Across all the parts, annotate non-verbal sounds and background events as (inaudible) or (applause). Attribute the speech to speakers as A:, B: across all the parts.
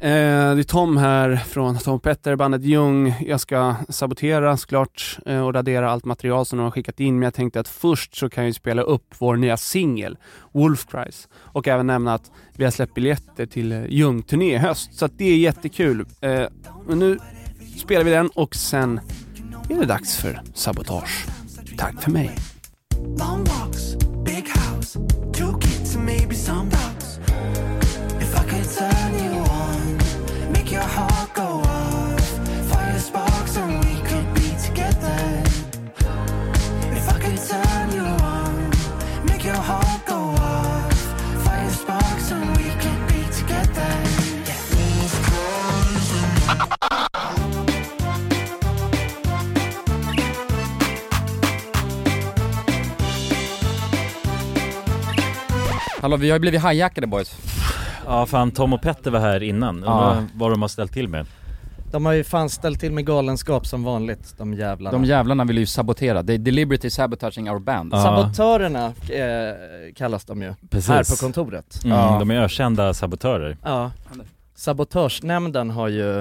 A: Eh, det är Tom här från Tom Petter, bandet Jung. Jag ska sabotera såklart eh, och radera allt material som de har skickat in, men jag tänkte att först så kan jag ju spela upp vår nya singel, Wolf Cries, och även nämna att vi har släppt biljetter till eh, Jung-turné i höst, så att det är jättekul. Eh, men nu spelar vi den och sen är det dags för sabotage. Tack för mig.
B: Long walks, big house, two kids, and maybe some dogs. If I could turn you on, make your heart go off. Fire sparks, and we could be together. If I could turn you on, make your heart go off. Fire sparks, and we could be together.
C: Hallå, vi har ju blivit hijackade boys.
D: Ja fan, Tom och Petter var här innan, undrar vad de har ställt till med
E: De har ju fan ställt till med galenskap som vanligt, de jävlarna.
C: De jävlarna vill ju sabotera. They deliberately sabotaging our band.
D: Ja.
E: Sabotörerna eh, kallas de ju,
D: Precis.
E: här på kontoret.
D: mm,
C: Ja.
D: De är ökända sabotörer
E: Ja. Sabotörsnämnden har ju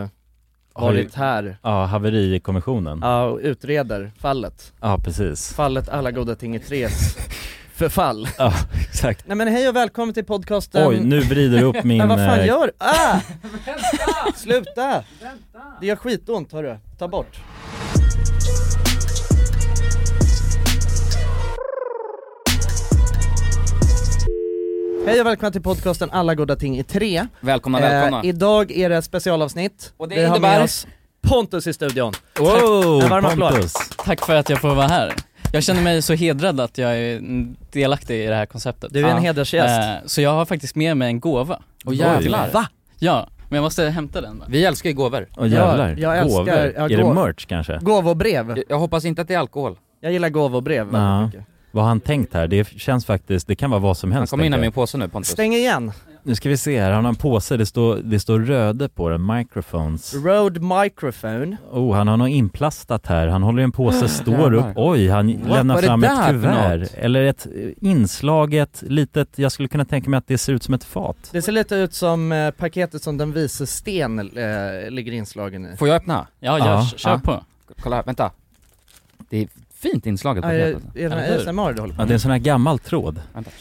D: Har ju-
E: varit här
D: Ja, haverikommissionen Ja,
E: ja, och utreder fallet.
D: precis
E: Fallet Alla goda ting i tres förfall.
D: (laughs) Ja, exakt
E: Nej men hej och välkommen till podcasten
D: Oj, nu vrider
E: (laughs)
D: du upp min...
E: Men vad fan
D: eh,
E: gör du?
C: (laughs)
E: Ah! Sluta! Det gör skitont hörru, ta bort Hej och välkomna till podcasten Alla goda ting i tre
C: Välkomna, välkomna.
E: Eh, Idag är det ett specialavsnitt
C: Och det
E: Vi har
C: innebär-
E: med oss Pontus i studion
D: Wow,
E: En varm applåd.
D: Pontus!
F: Tack för att jag får vara här. Jag känner mig så hedrad att jag är delaktig i det här konceptet.
E: Du är en
C: Ja.
E: hedersgäst
F: Eh, Så jag har faktiskt med mig en gåva.
C: Och jävlar.
E: Va?
F: Ja, men jag måste hämta den. va?
C: Vi älskar ju gåvor.
D: Och jävlar,
E: jag älskar-
D: gåvor.
E: ja,
D: Är det
E: gå-
D: merch kanske?
E: Gåvobrev,
C: Jag, jag hoppas inte att det är alkohol.
E: jag gillar gåvobrev väldigt
D: Ja.
E: mycket
D: Vad har han tänkt här? Det känns faktiskt, det kan vara vad som
C: Han
D: helst
C: kommer in här
D: tänker
C: med
D: jag.
C: en påse nu Pontus.
E: Stäng igen,
D: Nu ska vi se här, han har en påse, det står, det står röde på den, microphones
E: Rode Microphone
D: Oh, han har något inplastat här, han håller
C: (gasps)
D: en påse, står upp,
C: Jävlar.
D: oj, han
C: What
D: lämnar
C: var det
D: fram
C: där
D: ett
C: för
D: kuvert,
C: något?
D: eller ett eh, inslaget litet, jag skulle kunna tänka mig att det ser ut som ett fat
E: Det ser lite ut som eh, paketet som den vise sten eh, ligger inslagen i.
C: Får jag öppna?
F: Ja, gör,
D: Ja,
F: kör
C: ja.
F: på.
C: Kolla här, vänta. Det är fint inslaget på
E: Ah, är,
C: det.
E: är det
F: Eller hur?
E: ASMR du håller på
D: Ja, det är en sån här gammal tråd
C: Vänta.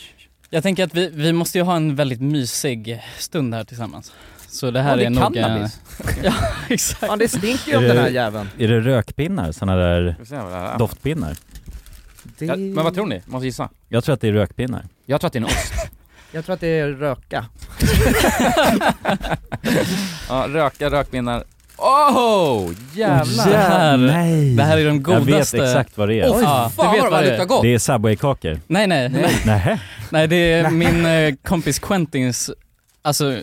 F: Jag tänker att vi, vi måste ju ha en väldigt mysig stund här tillsammans. Så det här
C: Ja, det
F: är nog... eh, (laughs)
C: cannabis.
F: Exakt.
E: Ja det stinker ju
D: Är
E: om
D: det-
E: den här jäveln.
D: Är det rökpinnar? Såna där
C: Ska vi se vad det här är.
D: doftpinnar?
E: Det...
C: Ja, men vad tror ni? Måste gissa.
D: Jag tror att det är rökpinnar
C: Jag tror att det är en ost.
E: Jag tror att det är
D: (laughs)
E: röka. Eh,
C: ja, röka, rökpinnar. Oh, jävlar!
F: Det här,
D: Nej!
F: det här är de
D: Jag
F: godaste...
D: vet exakt vad det är
C: Oj,
F: Ja,
C: fan
F: du vet
C: vad
F: vad
C: det
F: det är.
C: luktar gott!
D: Det är Subway-kakor
F: Nej, nej, nej. (laughs)
D: Nähä?
F: Nej, det är min eh, kompis Quentins, alltså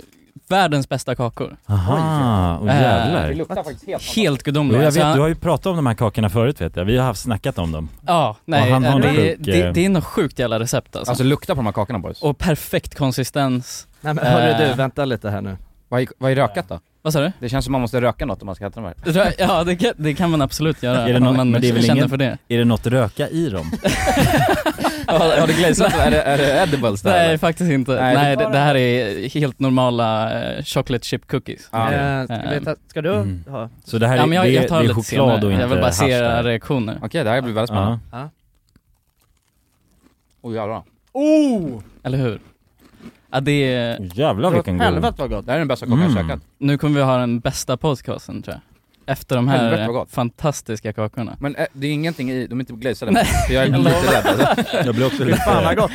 F: världens bästa kakor. Eh,
D: Aha, och jävlar
C: luktar faktiskt
F: Helt
D: Och
F: gudomliga.
D: jag
F: Så han-
D: vet, du har ju pratat om de här kakorna förut vet jag, vi har haft snackat om dem
F: Ja, nej,
D: han
F: eh,
D: har en
F: det,
D: sjuk, eh,
F: det, det är något sjukt jävla recept alltså.
C: Alltså lukta på de här
D: (laughs)
C: kakorna boys.
F: Och perfekt konsistens.
E: Nej men
F: Eh.
E: hörru du, vänta lite här nu.
C: Vad är, vad är rökat då?
F: Vad sa du?
C: Det känns som man måste röka något om man ska
F: (laughs)
C: äta de här.
F: Jag tror- Ja, det kan, det kan man absolut göra
D: Är det
F: om
D: någon-
F: man
D: men det är väl
F: känner
D: ingen- (laughs)
F: för det.
D: Är det något röka i dem?
C: Har har du glazat? Är det, är det edibles där?
F: Nej,
C: eller?
F: faktiskt inte.
C: Nej,
F: Nej,
C: det-
F: det, det här är helt normala eh, chocolate chip cookies.
C: Ja.
E: Eh, ska, vi ta, ska du
D: Mm.
E: ha?
D: Så det här är,
F: Ja, men jag,
D: det,
F: jag tar
D: det är
F: lite
D: choklad och
F: senare.
D: inte
F: Jag vill bara se
D: hasch där.
F: era reaktioner.
C: Okej, det här blir väldigt
D: Ja.
C: spännande. Oj jävlar.
E: Oh!
F: Eller hur? Ja, det är,
D: Jävlar vilken god.
E: Helvete vad gott.
C: Det här är den bästa kakan jag
D: Mm.
C: käkat.
F: nu kommer vi ha den bästa podcasten tror jag. Efter de här
C: Helvete, vad
F: eh,
C: gott.
F: fantastiska kakorna.
C: (laughs) Men eh, det är ingenting i, de är inte glazade.
F: Nej.
C: För jag är
F: Jag
C: lite
F: lovar.
C: rädd alltså.
F: (laughs)
D: Jag blev också lite... Mm.
E: Fan vad gott.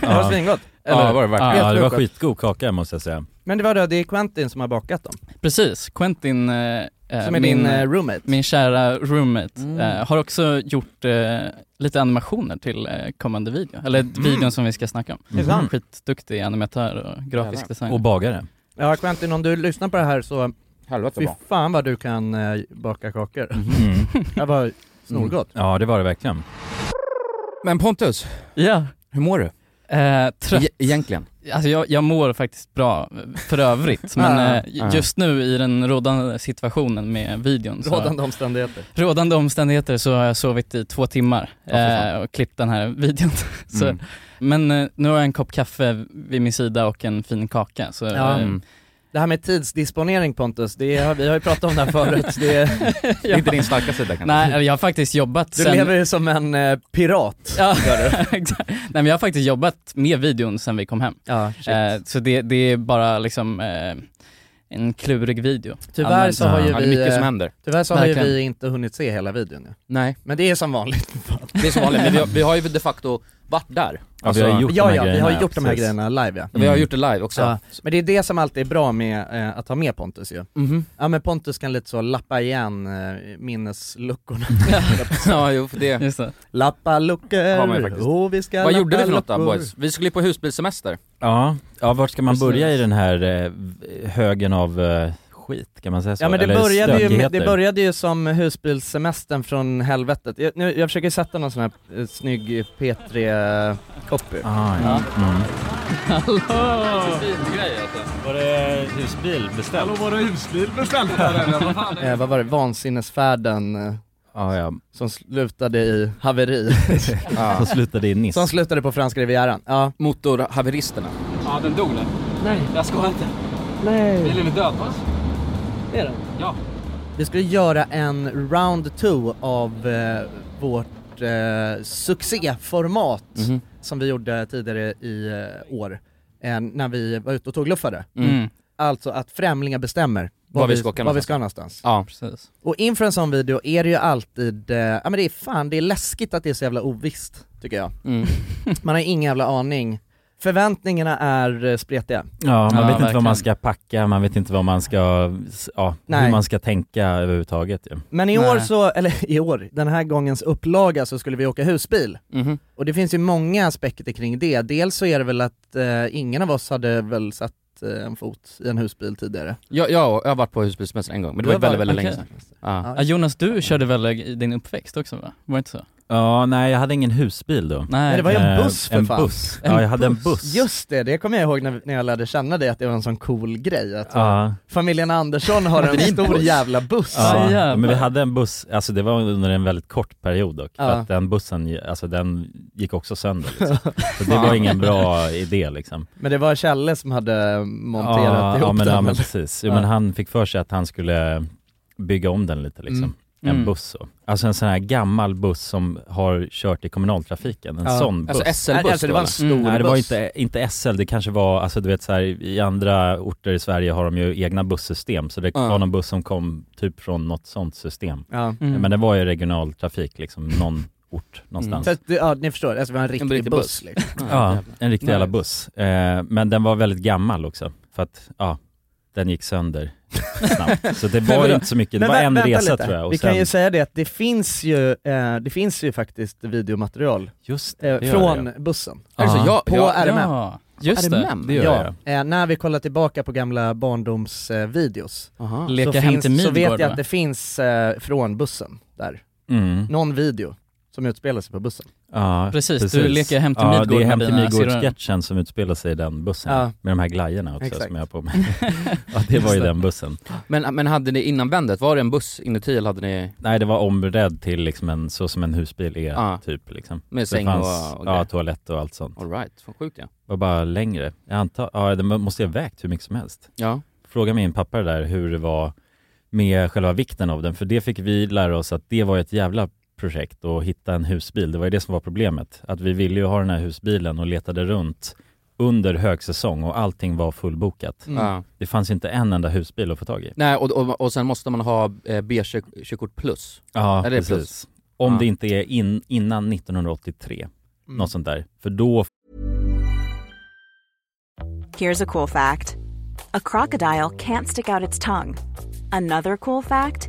E: Det var svingott.
C: Ja, det var det verkligen.
D: Ja, det var
E: Helt sjukt.
D: skitgod kaka måste jag säga.
E: Men det var det, det är Quentin som har bakat dem.
F: Precis, Quentin, eh, eh,
E: Som är din eh, roommate.
F: min kära roommate,
C: Mm.
F: eh, har också gjort eh, lite animationer till eh, kommande video, eller
C: Mm.
F: videon som vi ska snacka om.
E: Det är sant.
F: Skitduktig animatör och grafisk
C: Jävlar.
F: design.
D: Och bagare.
E: Ja Quentin om du lyssnar på det här så,
C: Helvete
E: fy
C: bra.
E: fan vad du kan eh, baka kakor.
D: Mm.
E: Det var snorgott.
D: Ja, det var det verkligen.
C: Men Pontus,
F: ja,
C: hur mår du?
F: eh, trött.
C: E- egentligen?
F: Alltså jag, jag mår faktiskt bra för
C: (laughs)
F: övrigt, men eh,
C: Ja.
F: just nu i den rådande situationen med videon så,
E: Rådande omständigheter.
F: rådande omständigheter så har jag sovit i två timmar
C: för fan.
F: eh, och klippt den här videon. (laughs) så,
C: Mm.
F: Men eh, nu har jag en kopp kaffe vid min sida och en fin kaka, så
E: Ja.
F: eh,
C: Mm.
E: Det här med tidsdisponering Pontus, det har, vi har ju pratat om det här förut. Det,
C: (laughs) Det är inte din starka sida kanske?
F: Nej, eller jag har faktiskt jobbat
E: du
F: sen...
E: lever ju som en eh, pirat.
F: (laughs) Ja, exakt. Nej men jag har faktiskt jobbat med videon sen vi kom hem.
E: Ja,
F: Eh, så det, det är bara liksom eh, en klurig video.
E: Tyvärr så har ju
C: Ja, det är
E: vi,
C: mycket som
E: eh,
C: händer.
E: tyvärr så har ju
F: Verkligen.
E: vi inte hunnit se hela videon nu.
C: Nej,
E: Men det är som vanligt.
C: (laughs) det är som vanligt. Men vi har, vi har ju de facto varit där. Alltså-
D: vi har gjort de
E: Ja
D: här
E: ja, vi
D: grejerna,
E: har ju gjort de här
D: precis.
E: grejerna live ja.
C: Vi har gjort det live också.
E: Ja, men det är det som alltid är bra med eh, att ha med Pontus ju.
C: Mhm.
E: Ja men Pontus kan lite så lappa igen eh, minnesluckorna.
C: (laughs) ja jo, för det.
F: Just det.
E: lappa
C: Har man ju
E: luckor,
C: faktiskt.
E: oh, vi ska
C: Vad
E: lappa
C: gjorde vi för något då
E: luckor.
C: boys? Vi skulle ju på husbilsemester.
D: Ja, ja vart ska man
F: Precis.
D: börja i den här eh, v- högen av eh, skit kan man säga så?
E: Ja men det
D: Eller
E: började, ju, med- det
D: stökigheter.
E: började ju som husbilsemestern från helvetet. Jag, nu, jag försöker sätta någon sån här eh, snygg P3-copy.
D: Ah, ja. mm.
F: Fin grej alltså.
D: Var det husbil beställt?
A: var det husbil beställd här?
E: Eh, vad var det? Vansinnesfärden eh,
D: Ja, Ah, ja.
E: som slutade i
D: (laughs)
E: haveri.
D: Så slutade det i Nice.
E: som slutade på franska rivieran. Ja.
C: Motorhaveristerna.
G: Ja, den dog den.
E: Nej.
G: Jag skojar inte.
E: Nej.
G: Bilen är död va?
E: Är den?
G: Ja.
E: Vi skulle göra en round two av eh, vårt eh, succéformat
C: Mhm.
E: som vi gjorde tidigare i eh, år. Eh, när vi var ute och tågluffade.
F: Mm.
E: Alltså att främlingar bestämmer
C: Var vi ska åka
E: var vi ska någonstans.
C: Ja.
F: Precis.
E: Och inför en sån video är det ju alltid, eh, ja men det är fan, det är läskigt att det är så jävla ovisst, tycker jag.
C: Mm.
E: Man har ingen jävla aning. Förväntningarna är eh, spretiga.
D: Ja, man
F: Ja,
D: vet inte vad man
F: verkligen.
D: ska packa, man vet inte vad man ska, s- ja,
E: Nej.
D: hur man ska tänka överhuvudtaget ju.
E: Men i
F: Nej.
E: år så, eller (laughs) i år, den här gångens upplaga så skulle vi åka husbil.
C: Mhm.
E: Och det finns ju många aspekter kring det. Dels så är det väl att eh, ingen av oss hade väl satt eh, en fot i en husbil tidigare.
C: Jag, jag, jag har varit på husbilsemester en gång, men det
E: Du
C: var ju
E: har
C: väldigt, väldigt
F: varit-
C: länge sedan. Ja.
F: Ja, Jonas, du körde väl i din uppväxt också va? Var det inte så?
D: Ja, nej jag hade ingen husbil då.
E: Nej, det var ju en
D: Eh,
E: buss för
D: en
E: fan.
D: Buss.
F: En
D: Ja, jag hade en
F: buss.
D: buss.
E: Just det, det kommer jag ihåg när, när jag lärde känna dig att det var en sån cool grej. Att
D: Ja,
E: familjen Andersson (laughs) har en stor jävla buss.
F: Så
D: ja.
F: jävlar.
D: men vi hade en buss, alltså det var under en väldigt kort period dock,
E: Ja.
D: för att den bussen, alltså den gick
E: (laughs)
D: också sönder liksom. Så det var ingen bra idé liksom.
E: Men det var Kjelle som hade monterat
D: ja,
E: ihop
D: ja, men,
E: den
D: ja, men
E: eller?
D: precis. Jo,
E: Ja.
D: men han fick för sig att han skulle bygga om den lite liksom.
E: Mm.
D: En
F: Mm.
D: buss så. Alltså en sån här gammal buss som har kört i kommunaltrafiken, en
E: Ja.
D: sån buss.
C: Alltså SL-buss
E: alltså, det var en stor
F: Mm.
D: Nej det var
E: buss.
D: inte, inte SL, det kanske var, alltså du vet så här, i andra orter i Sverige har de ju egna bussystem, så det
C: Ja.
D: var någon buss som kom typ från något sånt system.
E: Ja.
F: Mm.
D: Men det var ju regionaltrafik liksom, någon ort någonstans.
E: Så att, det- ja, ni förstår, alltså det var en riktig,
C: riktig
E: buss,
C: buss.
E: liksom.
D: Ja, en riktig jävla
F: Nice.
E: (laughs)
D: buss. Eh, men den var väldigt gammal också, för att ja, den gick sönder
E: (laughs)
D: snabbt. Så det var ju
E: vadå?
D: inte så mycket, det
E: Men
D: var
E: vä-
D: en
E: vänta
D: resa
E: lite.
D: tror jag. Och
E: Vi kan ju
D: sen,
E: säga det att det finns ju, eh, det finns ju faktiskt videomaterial
D: just det,
E: eh,
D: det gör
E: från
D: det.
E: bussen.
C: Alltså,
D: Ja.
C: jag,
E: På
C: jag,
E: RMM.
F: Ja, just det.
C: RMM?
D: Det gör
E: ja,
D: jag.
E: eh, när vi kollar tillbaka på gamla barndomsvideos
C: Aha.
E: så,
F: Leka hem
E: finns,
F: till
E: så vet
F: Midgård
E: jag att
F: va?
E: det finns eh, från bussen där.
D: Mm.
E: Någon video som utspelar sig på bussen.
D: Ja,
F: Precis, du leker Hem till
D: ja,
F: Midgård
D: det är
F: med
D: Hem till
F: dina
D: Midgård-sketchen som utspelar sig i den bussen.
E: Ja.
D: Med de här glajjorna också
E: Exakt.
D: som jag har på mig. (laughs) ja, det var ju den bussen.
C: Men, men hade ni innanvändet, var det en buss inuti eller hade ni
D: Nej, det var omredd till liksom en, så som en husbil är
C: Ja.
D: typ liksom.
C: Ah. med
D: Så Det
C: säng
D: fanns,
C: och, och
D: ja,
C: grejer?
D: toalett och allt sånt.
C: Alright, fan sjukt ja.
D: var bara längre. Jag antar, ja, det måste ju ha vägt hur mycket som helst.
C: Ja.
D: Fråga min pappa det där hur det var med själva vikten av den, för det fick vi lära oss att det var ett jävla projekt att hitta en husbil. Det var ju det som var problemet. Att vi ville ju ha den här husbilen och letade runt under högsäsong och allting var fullbokat.
C: ja.
D: Det fanns inte en enda husbil att få tag i.
C: Nej och, och, och sen måste man ha eh, B-körkort plus.
D: Ja,
C: Eller
D: precis.
C: plus. Ja.
D: Om
C: Mm.
D: det inte är in, innan 1983, något sånt där. För då
H: Here's a cool fact a crocodile can't stick out its tongue. Another cool fact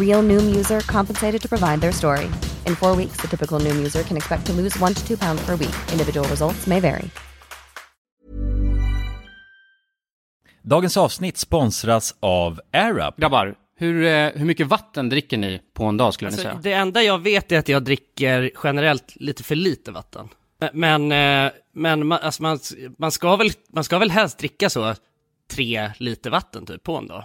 I: Real Noom user compensated to provide their story. In four weeks, the typical Noom user can expect to lose one to two pounds per week. Individual results may vary.
D: Dagens avsnitt sponsras av AirUp.
J: Grabbar, hur, eh, hur mycket vatten dricker ni på en dag skulle ni
E: Alltså,
J: säga?
E: det enda jag vet är att jag dricker generellt lite för lite vatten. Men, eh, men man, alltså man, man, ska väl, man ska väl helst dricka så tre liter vatten typ på en dag.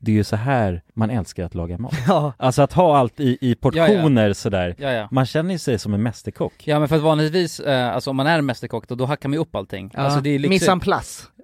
D: det är ju så här man älskar att laga mat.
F: (laughs) Ja.
D: Alltså att ha allt i, i portioner sådär.
C: Ja, ja.
D: Man känner ju sig som en mästerkock.
J: Ja men för att vanligtvis, eh, alltså om man är mästerkock då, då hackar man ju upp allting.
F: Ja.
J: Alltså det är lyxigt.
F: Mise en place.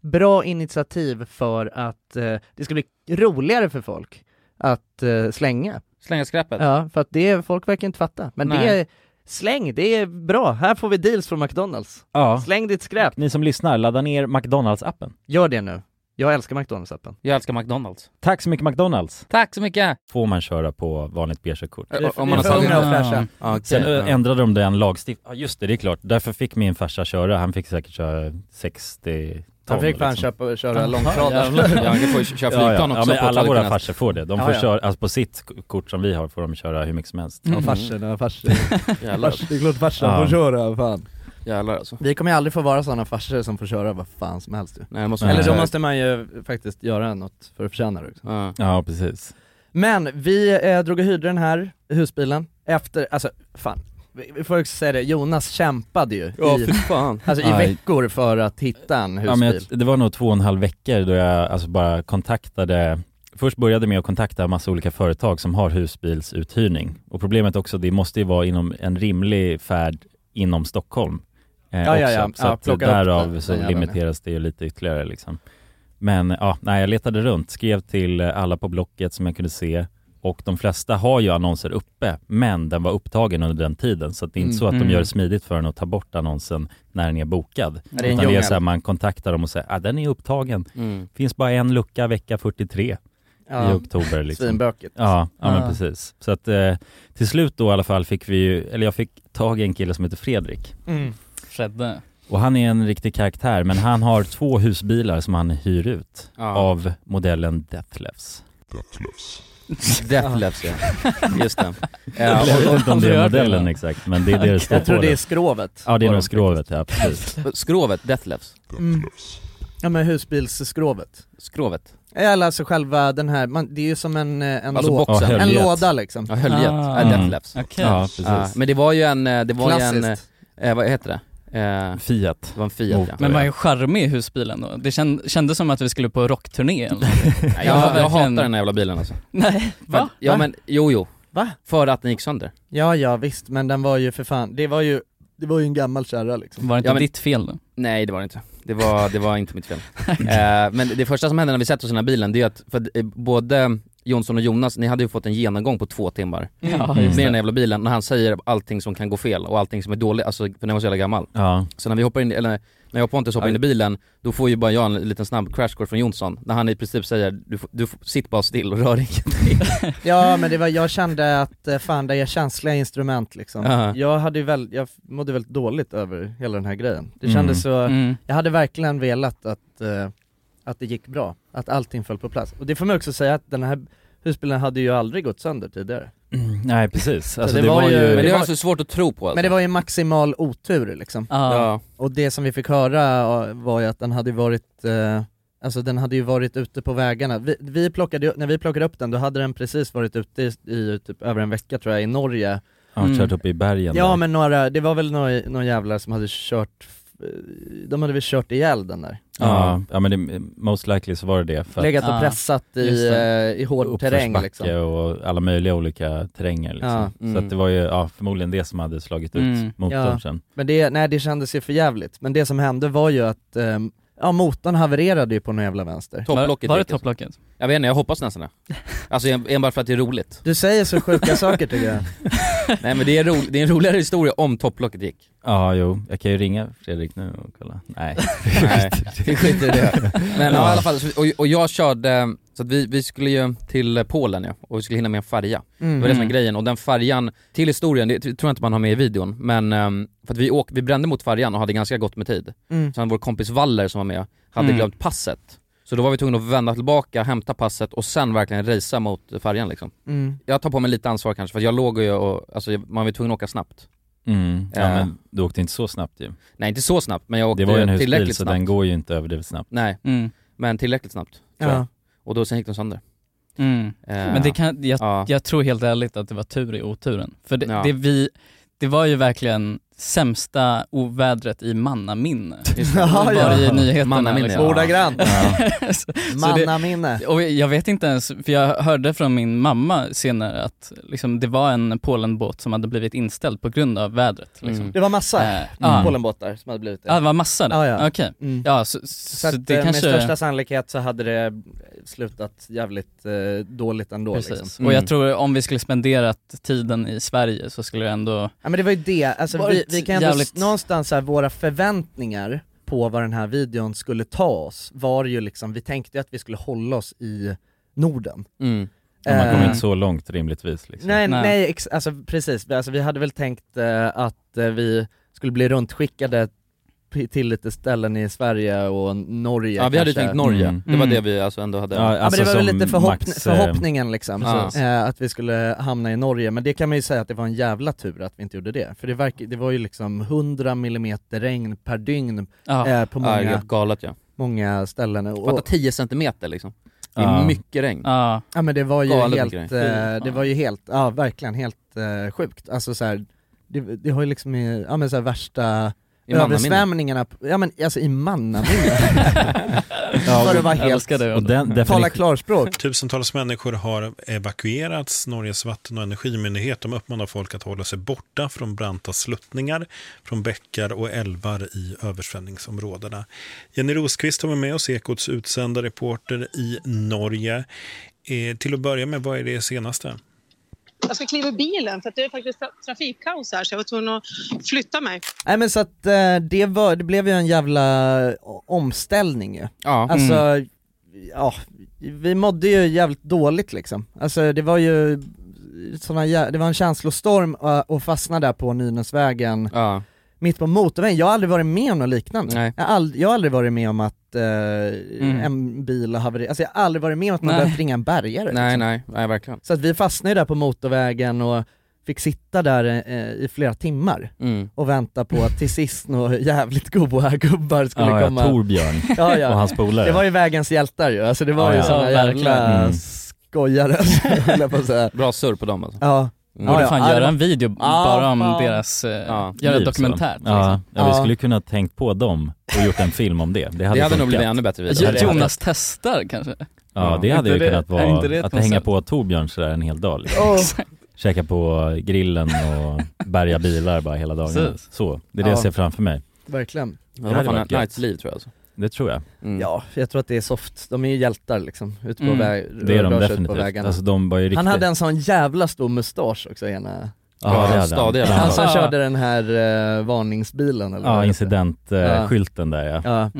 E: bra initiativ för att eh, det ska bli roligare för folk att eh, slänga.
C: Slänga skräpet?
E: Ja, för att det, folk verkar inte fatta. Men det
C: Nej.
E: är, släng, det är bra. Här får vi deals från McDonalds.
D: Ja.
E: Släng ditt skräp.
D: Ni som lyssnar, ladda ner McDonalds-appen.
E: Gör det nu. Jag älskar McDonalds-appen.
C: Jag älskar McDonalds.
D: Tack så mycket McDonalds!
C: Tack så mycket!
D: Får man köra på vanligt B-körkort?
C: Ä- om man har tagit- Ja. Ja, okej.
D: Sen
C: Ja.
D: ä, ändrade de den lagstiftningen, ja just det, det är klart. Därför fick min farsa köra, han fick säkert köra 60 ton. liksom.
E: Han fick fan köpa- köra långtradare.
C: Ja, han får ju köra flygplan
D: ja,
C: också
D: men
C: på
D: alla våra
C: Trollhättan.
D: farsor får det. De
C: Ja,
D: får
C: ja.
D: köra, alltså på sitt k- kort som vi har får de köra hur mycket som helst.
C: Mm.
E: Ja, farsen,
C: (laughs)
E: ja, farsen. Jävlar. Fars- det är klart farsan får köra, fan.
C: Jävlar alltså.
E: Vi kommer ju aldrig få vara sådana farsor som får köra vad fan som helst ju.
C: Nej, det måste man
E: Eller då
C: göra.
E: måste man ju faktiskt göra något för att förtjäna det också.
D: Ja, precis.
E: Men vi eh, drog och hyrde den här husbilen efter, alltså fan, vi vi får också säga det, Jonas kämpade ju
D: Ja,
E: i,
D: fy fan.
E: Alltså, i
D: Aj.
E: veckor för att hitta en husbil.
D: Ja, men jag, det var nog två och en halv veckor då jag alltså bara kontaktade Först började med att kontakta massa olika företag som har husbilsuthyrning och problemet också, det måste ju vara inom en rimlig färd inom Stockholm eh,
E: Ja, ja,
D: också.
E: ja.
D: Så
E: Ja,
D: att
E: plocka upp
D: därav
E: den-
D: så
E: den jäveln, ja.
D: limiteras det ju lite ytterligare liksom. Men ja, nej, jag letade runt, skrev till eh, alla på Blocket som jag kunde se och de flesta har ju annonser uppe, men den var upptagen under den tiden så att det är inte
C: Mm.
D: så att de
C: Mm.
D: gör det smidigt för en att ta bort annonsen när den är bokad.
C: Ja, det är en
D: Utan det är
C: djungel.
D: så här, man kontaktar dem och säger att ah, den är upptagen.
C: Mm.
D: Finns bara en lucka vecka 43
E: Ja.
D: i oktober. Liksom.
E: Svinbökigt.
D: Ja, ja, men
E: Ja.
D: precis. Så att eh, till slut då i alla fall fick vi ju, eller jag fick tag i en kille som heter Fredrik.
E: Mm.
C: Fredde.
D: Och han är en riktig karaktär, men han har två husbilar som han hyr ut
C: Ja.
D: av modellen Deathlefs.
C: (laughs) Deathlefs ja, just det.
D: (laughs) jag vet inte om det är modellen exakt, men det är det det står
C: Jag tror
D: på
C: det är
E: skrovet.
D: Ja, det är
C: På
D: nog
C: den
D: skrovet,
C: (laughs)
D: ja precis.
C: Skrovet, Deathlefs.
E: Mm. Ja men husbilsskrovet.
C: Skrovet.
E: Eller alltså själva den här, man, det är ju som en, eh, en,
C: Alltså
E: lå-
C: boxen. Ja,
E: en
C: höljet.
E: låda liksom.
C: Ja, höljet. Ah. Ja, Deathlefs. Okej. Ja, precis. men det var ju en, eh, det var ju en,
F: Mm, Klassiskt.
C: eh, vad heter det? Eh,
D: Fiat.
C: Det var en Fiat ja.
F: Men man är ju charmig i husbilen då. Det känd, kändes som att vi skulle på rockturné eller
C: (laughs)
F: något.
C: Nej, jag, jag hatar den här jävla bilen alltså.
F: (laughs) Nej, va?
C: För, ja
F: Va?
C: men, jo jo.
E: Va?
C: För att den gick sönder.
E: Ja ja visst, men den var ju för fan, det var ju, det var ju en gammal kärra liksom.
F: Var det inte
C: Ja, men-
F: ditt fel då?
C: Nej det var det inte. Det var, det var inte
F: (laughs)
C: mitt fel. Eh, men det första som hände när vi sätter oss i den här bilen, det är att, för att eh, både Jonsson och Jonas, ni hade ju fått en genomgång på två timmar
F: Ja,
C: med
F: just
C: den här
F: det.
C: jävla bilen, när han säger allting som kan gå fel och allting som är dåligt, alltså för den var så jävla gammal.
D: Ja.
C: Så när vi hoppar in, eller när jag och Pontus hoppar in i bilen, då får ju bara jag en liten snabb crash course från Jonsson, när han i princip säger du, får- du får- sitt bara still och rör ingenting.
F: (laughs)
E: Ja men det var, jag kände att eh, fan det är känsliga instrument liksom.
C: Aha.
E: Jag hade ju väl, jag mådde väldigt dåligt över hela den här grejen. Det
C: Mm.
E: kändes så,
C: Mm.
E: jag hade verkligen velat att, eh, att det gick bra, att allting föll på plats. Och det får man också säga att den här husbilen hade ju aldrig gått sönder tidigare.
D: Nej precis,
E: Så
D: alltså det, var, ju...
C: Men det var så svårt att tro på alltså.
E: Men det var ju maximal otur liksom.
C: Ja. Ja.
E: Och det som vi fick höra eh, var ju att den hade varit, eh, alltså den hade ju varit ute på vägarna. Vi, vi plockade, ju- när vi plockade upp den då hade den precis varit ute i, i typ över en vecka tror jag, i Norge.
D: Ja, kört
C: Mm.
D: upp i bergen
E: Ja
D: där.
E: men några, det var väl några, några jävlar som hade kört, eh, de hade väl kört ihjäl den där.
D: Ja, ja men det, most likely så var det det. För att-
E: Legat och pressat i, eh, i hård terräng
D: uppförsbacke
E: liksom.
D: och alla möjliga olika terränger liksom.
E: Ja,
D: Så
E: mm.
D: att det var ju ja, förmodligen det som hade slagit ut
F: Mm.
D: motorn sen.
E: Men det, nej det kändes ju för jävligt. Men det som hände var ju att, ehm, ja motorn havererade ju på någon jävla vänster.
C: Topplocket gick, alltså. Jag vet inte, jag hoppas nästan det. Alltså en- enbart för att det är roligt.
E: Du säger så sjuka saker tycker
F: (laughs)
E: (laughs) jag.
C: (laughs) Nej men det är, ro, det är en roligare historia om topplocket gick.
D: Ja, jo. Jag kan ju ringa Fredrik nu
C: (laughs)
D: och kolla. Nej.
C: Nej, vi skiter i det. Men ja. i alla fall, så- och, och jag körde, Så att vi, vi skulle ju till Polen ja, och vi skulle hinna med en färja.
K: Mm.
C: Det var det som var
K: Mm.
C: grejen och den färjan, till historien, det tror jag inte man har med i videon, men ehm, för att vi, åk, vi brände mot färjan och hade ganska gott med tid.
B: Mm.
C: Sen vår kompis Waller som var med hade
B: Mm.
C: glömt passet. Så då var vi tvungna att vända tillbaka, hämta passet och sen verkligen racea mot färjan liksom.
B: Mm.
C: Jag tar på mig lite ansvar kanske för att jag låg och, jag- och alltså, jag- man var ju tvungen att åka snabbt.
D: Mm. Ja,
C: Eh.
D: men du åkte inte så snabbt ju.
C: Nej inte så snabbt men jag åkte
D: Det var ju en husbil
C: tillräckligt
D: så
C: snabbt.
D: den går ju inte överdrivet snabbt.
C: Nej,
E: Mm.
C: men tillräckligt snabbt. tror
F: Ja.
C: jag. Och då sen gick den sönder.
F: Mm.
C: Eh,
F: Men det kan, jag,
C: ja.
F: jag tror helt ärligt att det var tur i oturen. För det,
C: Ja.
F: det, vi, det var ju verkligen sämsta ovädret i mannaminne.
C: (laughs) Just det.
F: var
C: Ja, ja.
F: i nyheterna. liksom.
C: Mannaminne, ja. Ordagrant.
F: Ja. Så- (laughs) så det-
B: Mannaminne.
F: Och jag vet inte ens, för jag hörde från min mamma senare att liksom, det var en Polenbåt som hade blivit inställd på grund av vädret. Liksom.
C: Mm.
E: Det var massa
F: Eh, ja.
E: Polenbåtar som hade blivit det.
F: Ja, det var massa där?
E: Ja, ja.
F: Okej.
E: Mm.
F: Ja, så, så,
E: Så, att,
F: det
E: eh,
F: kanske...
E: med största sannolikhet så hade det eh, slutat jävligt eh, dåligt ändå
F: Precis.
E: liksom.
F: Och
D: Mm.
F: jag tror om vi skulle spenderat tiden i Sverige så skulle det ändå...
E: Ja men det var ju det, alltså vi,
F: Varit
E: vi kan ändå
F: jävligt-
E: s- någonstans så här, våra förväntningar på vad den här videon skulle ta oss var ju liksom, vi tänkte ju att vi skulle hålla oss i Norden.
C: Mm.
D: Men man kommer
E: Eh,
D: inte så långt rimligtvis liksom.
E: Nej, nej, ex- alltså precis. Alltså, vi hade väl tänkt eh, att eh, vi skulle bli runtskickade p- till lite ställen i Sverige och Norge
C: Ja vi hade ju
E: kanske.
C: tänkt Norge,
E: Mm.
C: det var det vi alltså ändå hade
E: Ja, men det var väl lite förhoppn- förhoppningen liksom,
C: Ja.
E: eh, att vi skulle hamna i Norge, men det kan man ju säga att det var en jävla tur att vi inte gjorde det. För det, verk- det var ju liksom 100 millimeter regn per dygn
C: Ja.
E: eh, på
C: Ja,
E: många,
C: helt galet, ja.
E: många ställen. Och,
C: Fatta 10 centimeter liksom. Det är
E: Ja.
C: mycket regn.
F: Ja.
E: Ja men det var ju
C: Galet mycket
E: helt, eh,
C: regn.
E: det var ju helt, ja verkligen helt eh, sjukt. Alltså så här, det, det har ju liksom, i- ja men så här, värsta
C: I
E: översvämningarna, på- ja men alltså i (laughs) mannaminne.
C: (laughs)
E: För att vara helt, tala klarspråk.
L: Tusentals människor har evakuerats. Norges vatten och energimyndighet de uppmanar folk att hålla sig borta från branta sluttningar, från bäckar och älvar i översvämningsområdena. Jenny Rosqvist har varit med oss, Ekots utsända reporter i Norge. Eh, till att börja med, vad är det senaste?
M: Jag ska kliva ur bilen för att det är faktiskt tra- trafikkaos här så jag var tvungen att flytta mig.
E: Nej men så att eh, det, var, det blev ju en jävla o- omställning ju.
C: Ja.
E: Alltså,
C: Mm.
E: ja, vi mådde ju jävligt dåligt liksom. Alltså det var ju såna, jä- det var en känslostorm eh, och fastna där på Nynäsvägen mitt på motorvägen. Jag har aldrig varit med om något liknande. Jag, har ald- jag har aldrig varit med om att eh, en bil har havererat, alltså jag har aldrig varit med om att man
C: Mm. Nej.
E: behövt ringa en bärgare. liksom.
C: Nej, nej, nej verkligen.
E: Så att vi fastnade ju där på motorvägen och fick sitta där eh, i flera timmar
C: Mm.
E: och vänta på att till sist några jävligt goa gubbar skulle
D: Ja, ja,
E: komma. (laughs)
D: Torbjörn och hans polare.
E: Det var ju vägens hjältar ju, alltså det var
C: Ja,
E: ju
C: ja.
E: sådana
C: Ja, verkligen.
E: jävla
C: Mm.
D: (laughs)
E: skojare (laughs) höll jag på att säga.
C: Bra surr på dem alltså.
E: Ja.
C: Mm.
F: Borde fan göra
E: det var-
F: en video
E: Ja,
F: bara om
E: fan.
F: deras, eh, göra
D: Liv,
F: ett
D: Typ så.
F: dokumentärt
D: Ja,
F: liksom.
D: ja, vi skulle kunna tänkt på dem och gjort en film om det. Det hade,
C: hade nog
D: funkat.
C: blivit ännu bättre video.
D: Det hade
F: Alltså, Jonas testar kanske?
D: Ja det hade
F: Inte
D: ju kunnat
F: är
D: vara
F: inte det ett
D: att hänga
F: koncept?
D: på Torbjörn sådär en hel dag liksom. (laughs)
F: Oh.
D: Käka på grillen
E: (laughs)
D: och bärga bilar bara hela dagen.
E: Precis.
D: Så, det är det jag
E: Ja.
D: ser framför mig.
E: Verkligen.
D: Det
C: Det var
D: hade
C: fan
D: varit
C: ett
D: gött.
C: nights liv tror jag alltså.
D: Det tror jag.
E: Ja, jag tror att det är soft. De är ju hjältar liksom, ute på
D: Mm.
E: väg,
D: Det är de
E: rör sig ut på
D: definitivt.
E: vägarna.
D: Alltså de var ju riktigt...
E: Han hade en sån jävla stor mustasch också ena
D: Ja, det hade han.
E: Stadiga. Han som
D: Ja.
E: körde den här eh, varningsbilen eller vad
D: Ja,
E: det heter. Ja.
D: incidentskylten där ja.
E: Ja.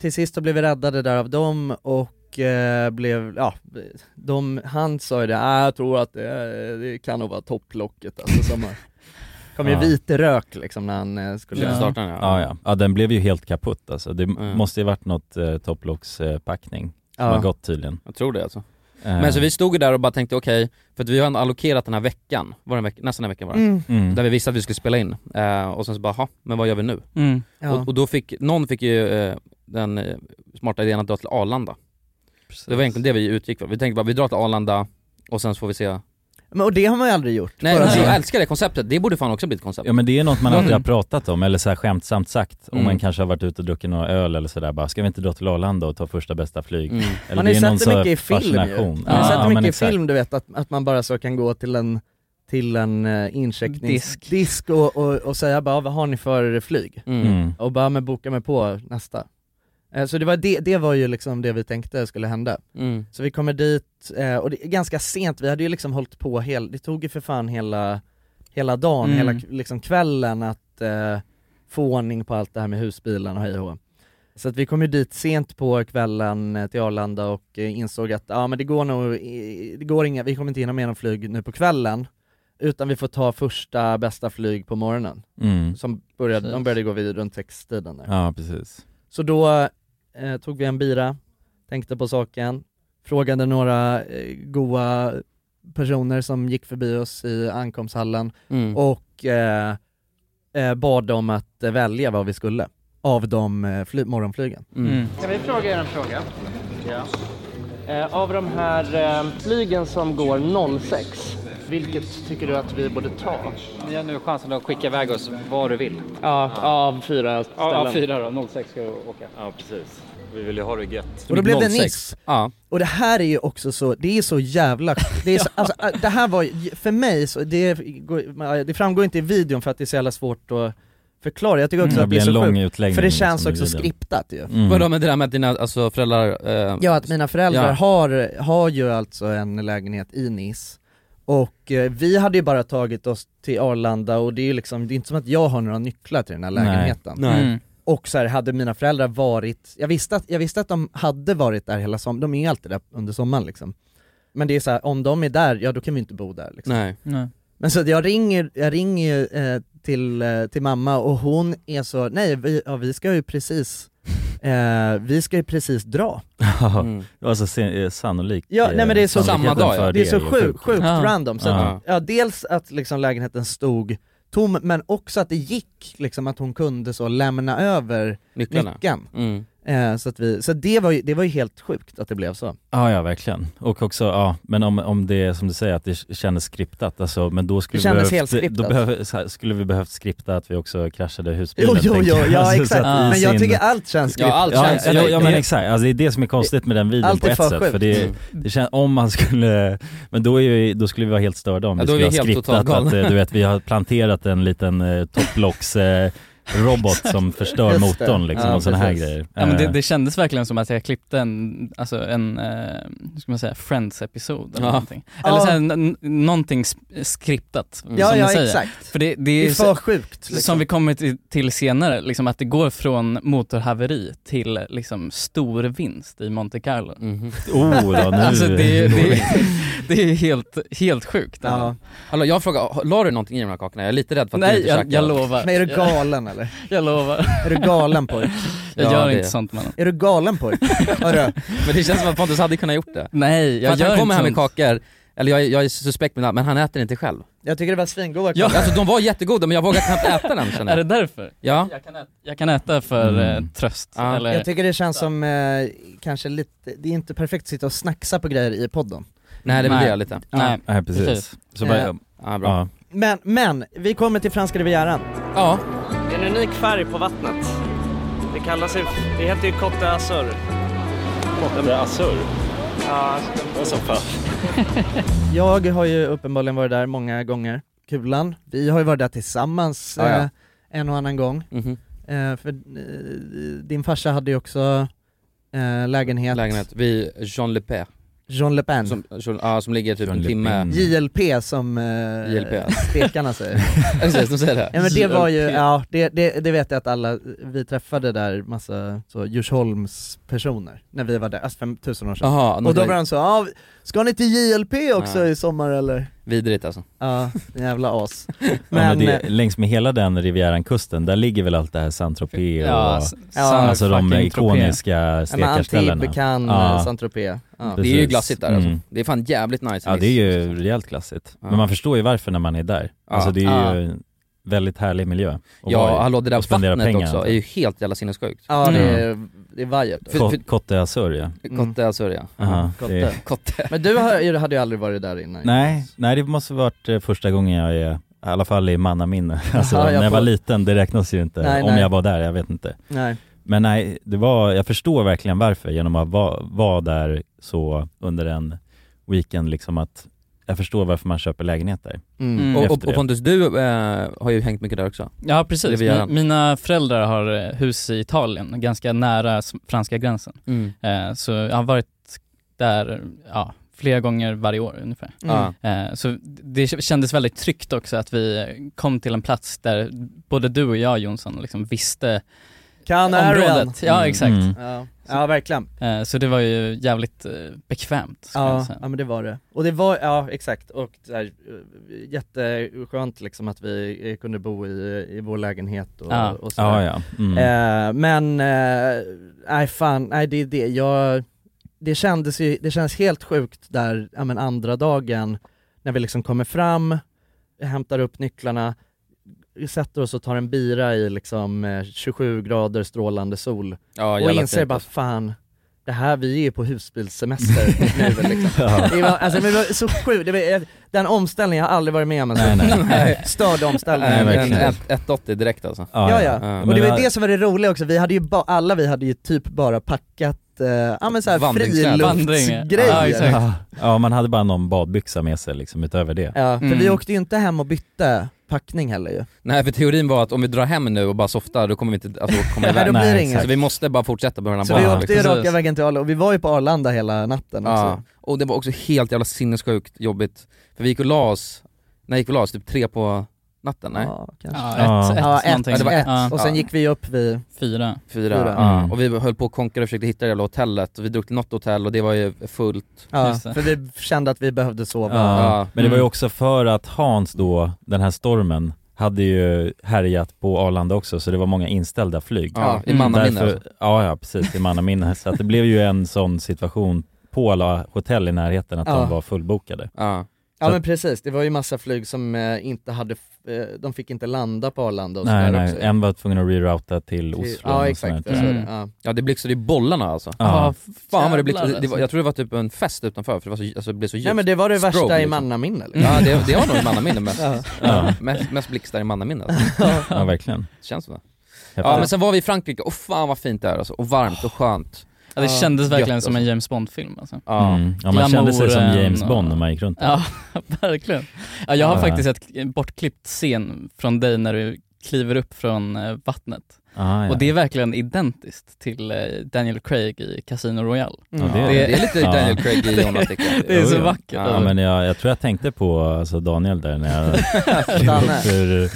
E: Till sist så blev vi räddade där av dem och eh, blev, ja, de, han sa ju det, "Ah, jag tror att det, det kan nog vara topplocket alltså som
D: (laughs)
E: har, kom ju
D: Ja.
E: vit rök liksom när han eh, skulle
D: ja. Ja, ja. ja den blev ju helt kaputt alltså. Det måste ju varit något eh, topplockspackning som
C: Ja.
D: har gått tydligen.
C: Jag tror det alltså.
D: Eh.
C: Men så vi stod ju där och bara tänkte okej, för att vi har ändå allokerat den här veckan, var det en vecka, nästan en vecka var det,
E: Mm.
F: Mm.
C: där vi visste att vi skulle spela in. Eh, och sen så bara, "Ha, men vad gör vi nu?
F: Mm. Ja.
C: Och, och då fick, någon fick ju eh, den eh, smarta idén att dra till Arlanda. Det var egentligen det vi utgick från. Vi tänkte bara, vi drar till Arlanda och sen så får vi se.
E: Men och det har man ju aldrig gjort.
C: Nej,
E: Bara
C: alltså,
E: så.
C: jag älskar det konceptet, det borde fan också bli ett koncept.
D: Ja men det är något man
C: Mm.
D: alltid har pratat om, eller så här skämtsamt sagt, om
C: Mm.
D: man kanske har varit ute och druckit några öl eller sådär bara, ska vi inte dra till Arlanda och ta första bästa flyg?
C: Mm.
D: Eller
E: man har ju
D: är någon
E: sett
D: så
E: det
D: här
E: mycket i film ju.
D: fascination.
E: Man har
D: Ja,
E: sett
D: ja,
E: det mycket
D: men
E: i
D: exakt.
E: film du vet, att, att man bara så kan gå till en, till en uh, incheckningsdisk
F: Disk.
E: och, och, och säga bara vad har ni för flyg?
C: Mm.
D: Mm.
E: Och bara men boka mig på nästa. Eh, Så det var, det, det var ju liksom det vi tänkte skulle hända.
C: Mm.
E: Så vi kommer dit, eh, och det är ganska sent, vi hade ju liksom hållit på hela, det tog ju för fan hela, hela dagen,
F: Mm.
E: hela k- liksom kvällen att eh, få ordning på allt det här med husbilen och hej och hå. Så att vi kom ju dit sent på kvällen eh, till Arlanda och eh, insåg att ja men det går nog, i- det går inga, vi kommer inte hinna med någon flyg nu på kvällen utan vi får ta första bästa flyg på morgonen.
D: Mm.
E: Som började, de
D: Precis.
E: började gå vid runt sextiden där.
D: Ja, precis.
E: Så då eh, tog vi en bira, tänkte på saken, frågade några eh, goa personer som gick förbi oss i ankomsthallen
K: Mm.
E: och eh, eh, bad dem att eh, välja vad vi skulle av de eh, fly- morgonflygen.
B: Kan vi fråga er en fråga? Ja. Eh, av de här eh, flygen som går 06, vilket tycker du att vi borde ta?
N: Ni har nu chansen att skicka iväg oss var du vill.
B: Ja, av fyra ställen.
N: Ja, ja fyra då. 06 ska du åka.
D: Ja, precis. Vi vill ju ha det gött.
E: Och då blev det Nice.
C: Ja.
E: Och det här är ju också så, det är så
D: (laughs)
E: jävla, det, är så, alltså, det här var, ju- för mig, så, det, går- äh, det framgår inte i videon för att det är så jävla svårt att förklara, jag tycker också
D: Mm. Det
E: att det
D: blir
E: är så
D: en lång
E: sjukt,
D: utläggning
E: för det känns
D: liksom i
E: också
D: videon.
E: skriptat ju
D: Mm.
C: Vadå med det där med att dina alltså, föräldrar... Eh,
E: Ja att mina föräldrar
C: Ja.
E: har, har ju alltså en lägenhet i Nice och eh, vi hade ju bara tagit oss till Arlanda och det är ju liksom, det är inte som att jag har några nycklar till den här
C: Nej.
E: lägenheten
C: Nej. Mm.
E: Och så här, hade mina föräldrar varit, jag visste, att, jag visste att de hade varit där hela sommaren, de är ju alltid där under sommaren liksom Men det är så här, om de är där, ja då kan vi inte bo där liksom
C: Nej.
F: Nej.
E: Men så att jag ringer, jag ringer ju, eh, till, eh, till mamma och hon är så, nej vi, ja, vi ska ju precis, eh, vi ska ju precis dra
D: (laughs) Ja, det var så sen- eh, sannolikt.
E: Mm.
D: eh,
E: Ja, nej men det är så,
D: sannolikheten för
E: det är så
D: ju
E: sjukt, sjukt
D: Ja.
E: random. Så
D: Ja.
E: att, ja, dels att liksom lägenheten stod tom, men också att det gick liksom att hon kunde så lämna över
C: Nycklarna.
E: nyckeln.
C: Mm.
E: Eh, så att vi, så det var, ju, det var ju helt sjukt att det blev så.
D: Ja, ja verkligen. Och också, ja, men om, om det är som du säger att det kändes skriptat, alltså, men då skulle
E: Det kändes
D: vi
E: helt
D: behövt,
E: skriptat.
D: då behöv, så här, skulle vi behövt skripta att vi också kraschade husbilen.
E: Jo, jo,
D: tänker
E: jo,
D: jag.
E: ja
D: Alltså, så
E: exakt.
D: att i
E: Men jag
D: sin-
E: tycker allt känns skriptat.
D: ja, ja, ja men exakt, alltså, det är det som är konstigt med den videon
E: Allt
D: på
E: är
D: ett
E: för
D: sätt.
E: sjukt.
D: För det,
E: Mm.
D: det känns, om man skulle, men då, är ju, då skulle vi vara helt störda om
C: Ja,
D: vi
C: då är
D: skulle ha
C: vi helt totalt
D: skriptat att
C: galna.
D: eh, du vet, vi har planterat en liten eh, topplocks eh,
F: (laughs)
D: robot (laughs) som förstör
F: Just det.
D: motorn liksom, och sådana här
F: precis.
D: grejer.
F: Ja, men det,
D: Eh,
F: det kändes verkligen som att jag klippte en, alltså en, eh, hur ska man säga, Friends-episod eller
C: Ja.
F: någonting. Eller
E: Ja.
F: så här, n- n- någonting sp- skriptat,
E: Ja,
F: som
E: ja,
F: du säger.
E: exakt.
F: För det, det
E: Det
F: är,
E: är för sjukt, liksom.
F: Som vi kommer till, till senare, liksom att det går från motorhaveri till liksom stor vinst i Monte Carlo.
D: Oh, då, nu-
F: Alltså det,
C: (laughs)
F: det, det är helt, helt sjukt.
E: Ja.
C: Hallå, jag frågar, la du någonting i de här kakorna? Jag är lite rädd för att du
F: Nej,
C: inte
F: jag-
C: käkar
F: jag
C: dem.
F: lovar.
E: Men är du galen
C: (laughs)
E: eller?
F: (laughs) Jag lovar.
E: Är du galen pojk?
F: (laughs) Jag Ja, gör det. inte sånt,
C: (laughs)
F: mannen.
E: Är du
F: (laughs)
E: galen pojk? Hörru.
C: Men det känns som att Pontus hade kunnat gjort det.
F: Nej, jag
C: För att
F: gör
C: han kommer
F: inte
C: här med
F: sånt.
C: kakor, eller jag, är- jag är suspekt med det, men han äter inte själv.
E: Jag tycker det var svingoda
C: Ja. Alltså de var jättegoda men jag vågar knappt äta den känner
F: Är
C: jag.
F: det därför?
C: Ja.
F: Jag kan äta, jag kan äta för
C: Mm.
F: eh, tröst.
C: Ja.
F: Eller,
E: Jag tycker det känns som eh, kanske lite, det är inte perfekt att sitta och snacksa på grejer i podden
C: Nej det vill jag lite.
F: Nej.
D: Nej, precis. Så bara,
E: Eh,
C: ja, bra.
D: Ja.
E: Men, men, vi kommer till Franska Rivieran
C: Ja
B: Det är en unik färg på vattnet. Det kallas ju, det heter ju Côte d'Azur.
D: Côte d'Azur?
B: Ja.
D: Vad som fan.
E: (laughs) Jag har ju uppenbarligen varit där många gånger, Kulan, vi har ju varit där tillsammans
C: Ja, ja.
E: Eh, en och annan gång
C: Mhm.
E: eh, För eh, din farsa hade ju också eh, lägenhet,
C: Lägenhet vid Jean Le Pen.
E: Jean Le Pen
C: Som, ja, som ligger typ
E: Jean
C: en
E: Le
C: timme.
E: Pen. JLP som eh,
C: JLP.
E: stekarna säger
C: (laughs) Ja, precis, de säger det.
E: Ja men det var ju,
C: JLP.
E: ja det, det, det vet jag att alla, vi träffade där massa så Djursholms personer när vi var där, alltså för tusen år sedan
C: Aha,
E: Och då
C: någon-
E: var de så, ja, ska ni till JLP också
C: Nej.
E: i sommar eller?
C: Vidrigt alltså.
E: Ja,
C: (laughs)
E: jävla as
D: Men, ja, men
E: Men, eh,
D: det,
C: eh,
D: längs med hela den Rivieran-kusten, där ligger väl allt det här Saint-Tropez och
E: Ja, s-
D: alltså de
E: Saint-fucking-Tropez.
D: ikoniska
E: Ja, men
D: stekarställena.
E: Antibes, Cannes,
D: eh, Ja.
E: eh, Saint-Tropez. Ja.
C: eh, Det är ju
D: Precis.
C: glassigt där alltså.
D: Mm.
C: Det är fan jävligt nice. i
D: Ja det är
C: Nice.
D: ju rejält glassigt. Men man förstår ju varför när man är där.
C: Ja.
D: Alltså det är ju
C: Ja.
D: väldigt härlig miljö. att vara i.
C: Ja hallå det
D: Och
C: där
D: spendera
C: vattnet
D: pengar.
C: också är ju helt jävla sinnessjukt. Mm.
E: Ja, det är, det är vajert.
D: Ko- Côte d'Azur ja.
C: Kotte Azur ja.
D: Aha, det är-
C: Kotte.
E: Men du har, hade ju aldrig varit där innan
D: Nej, nej det måste ha varit eh, första gången jag är, i alla fall i mannaminne. (laughs) Alltså
E: Jaha, jag
D: när jag var
E: får-
D: liten, det räknas ju inte.
E: Nej,
D: Om
E: nej.
D: jag var där, jag vet inte.
E: Nej.
D: Men nej, det var, jag förstår verkligen varför genom att va- vara där så under en weekend liksom att jag förstår varför man köper lägenhet där.
C: Mm. Och, och,
D: Efter
C: och
D: det.
C: Pontus, du eh, har ju hängt mycket där också.
F: Ja precis,
C: Rivieran.
F: Mi- mina föräldrar har eh, hus i Italien, ganska nära s- franska gränsen.
C: Mm.
F: Eh, Så jag har varit där ja, flera gånger varje år ungefär.
C: Mm.
F: Eh, Så det k- kändes väldigt tryggt också att vi kom till en plats där både du och jag Jonsson liksom visste
E: Kanarian.
F: området. Ja exakt.
E: Mm. Ja. Ja, verkligen.
F: Eh, Så det var ju jävligt eh, bekvämt ska jag
E: Ja,
F: säga.
E: ja men det var det. Och det var, ja exakt, och så här, eh, jätteskönt liksom att vi eh, kunde bo i, i vår lägenhet och,
D: Ja.
E: och sådär.
D: Ja, ja. Mm.
E: Eh, Men, eh, nej fan, nej det är det, jag, det kändes ju, det kändes helt sjukt där, ja men andra dagen, när vi liksom kommer fram, hämtar upp nycklarna, sätter oss och tar en bira i liksom eh, 27 grader strålande sol
C: Ja,
E: och
C: jävla
E: inser
C: fint,
E: bara
C: alltså.
E: fan, det här, vi är på husbilssemester (laughs) nu liksom.
C: (laughs) Ja.
E: det, var, alltså, men det var så sjukt, det var, eh, den omställningen har jag aldrig varit med om en sån. (laughs) Störd omställning.
C: Nej, verkligen.
E: Men-
C: En- Ett 180 direkt alltså.
E: Ja, ja. Och det var ju det som var det roliga också, vi hade ju ba- alla vi hade ju typ bara packat, eh, ja men såhär
D: Vandringskläder.
E: friluftsgrejer.
D: Ja, ja, man hade bara någon badbyxa med sig liksom utöver det.
E: Ja,
C: Mm.
E: för vi åkte ju inte hem och bytte packning heller ju.
C: Nej för teorin var att om vi drar hem nu och bara softar då kommer vi inte alltså, komma
E: (laughs) Nej,
C: iväg.
E: då blir det inget.
C: Så vi måste bara fortsätta på den här
E: Så vi
C: banan,
E: åkte ju
C: liksom.
E: raka vägen till Arlanda och vi var ju på Arlanda hela natten
C: Ja.
E: också.
C: Och det var också helt jävla sinnessjukt jobbigt. För vi gick och la oss, när gick vi och la oss? Typ tre på natten? Nej?
E: Ja, kanske.
F: Ja, ett- ett
E: Ja,
F: någonting. Ja,
E: ett,
F: det var
E: ett.
F: ett.
E: Och sen
F: Ja.
E: gick vi upp vid
F: Fyra.
C: Fyra,
E: Fyra.
C: Ja.
E: Mm.
C: och vi höll på och konkade och försökte hitta det jävla hotellet och vi drog till något hotell och det var ju fullt.
E: Ja, för vi kände att vi behövde sova.
D: Ja. Men det
E: Mm.
D: var ju också för att Hans då, den här stormen, hade ju härjat på Arlanda också så det var många inställda flyg. Mm.
C: Ja, i mannaminne
D: Därför-
C: alltså.
D: Ja, ja precis, i mannaminne. så att det blev ju en sån situation på alla hotell i närheten att
E: Ja.
D: de var fullbokade.
C: Ja.
E: Ja
D: Så
E: men precis, det var ju massa flyg som eh, inte hade, f- eh, de fick inte landa på Arlanda och
D: Nej,
E: sådär
D: nej,
E: också.
D: en var tvungen att rerouta till Oslo.
E: Ja
D: och
E: exakt,
D: sånt
E: jag
D: där.
E: sa det.
D: Mm.
E: Ja.
C: Ja det blixtrade i bollarna alltså.
D: Ja. Ja,
C: Fan vad det blixtrade,
E: jävlar,
C: det var,
E: alltså.
C: jag tror det var typ en fest utanför för det, var så, alltså, det blev så ljust.
E: Nej men det var det
C: Strobe,
E: värsta i
C: liksom.
E: mannaminne liksom.
C: Ja det, det var nog i mannaminne
D: (laughs)
C: mest.
E: Ja.
C: ja.
E: Ja.
C: Mest, mest blixtar i mannaminne alltså.
D: Ja, verkligen.
C: Känns som det.
D: Häftigt.
C: Ja men sen var vi i Frankrike, och fan vad fint det är alltså, och varmt och skönt.
F: Ja, det kändes
C: Gött,
F: verkligen som
C: alltså.
F: en James Bond-film alltså.
C: Ja.
D: Mm. Ja, man kände sig som James Bond när man gick runt där.
F: Ja, (laughs) verkligen. Ja, jag har
D: Ja.
F: faktiskt ett k- bortklippt scen från dig när du kliver upp från eh, vattnet.
D: Ah, ja.
F: Och det är verkligen identiskt till eh, Daniel Craig i Casino Royale.
C: Mm.
D: Ja, Ja. (laughs)
F: (laughs) Det är
D: Jo,
F: så
D: jo.
F: vackert.
D: Ja,
F: alltså.
D: men jag, jag tror jag tänkte på alltså Daniel där när
C: (laughs)
D: jag klev
F: Danne.
D: upp ur,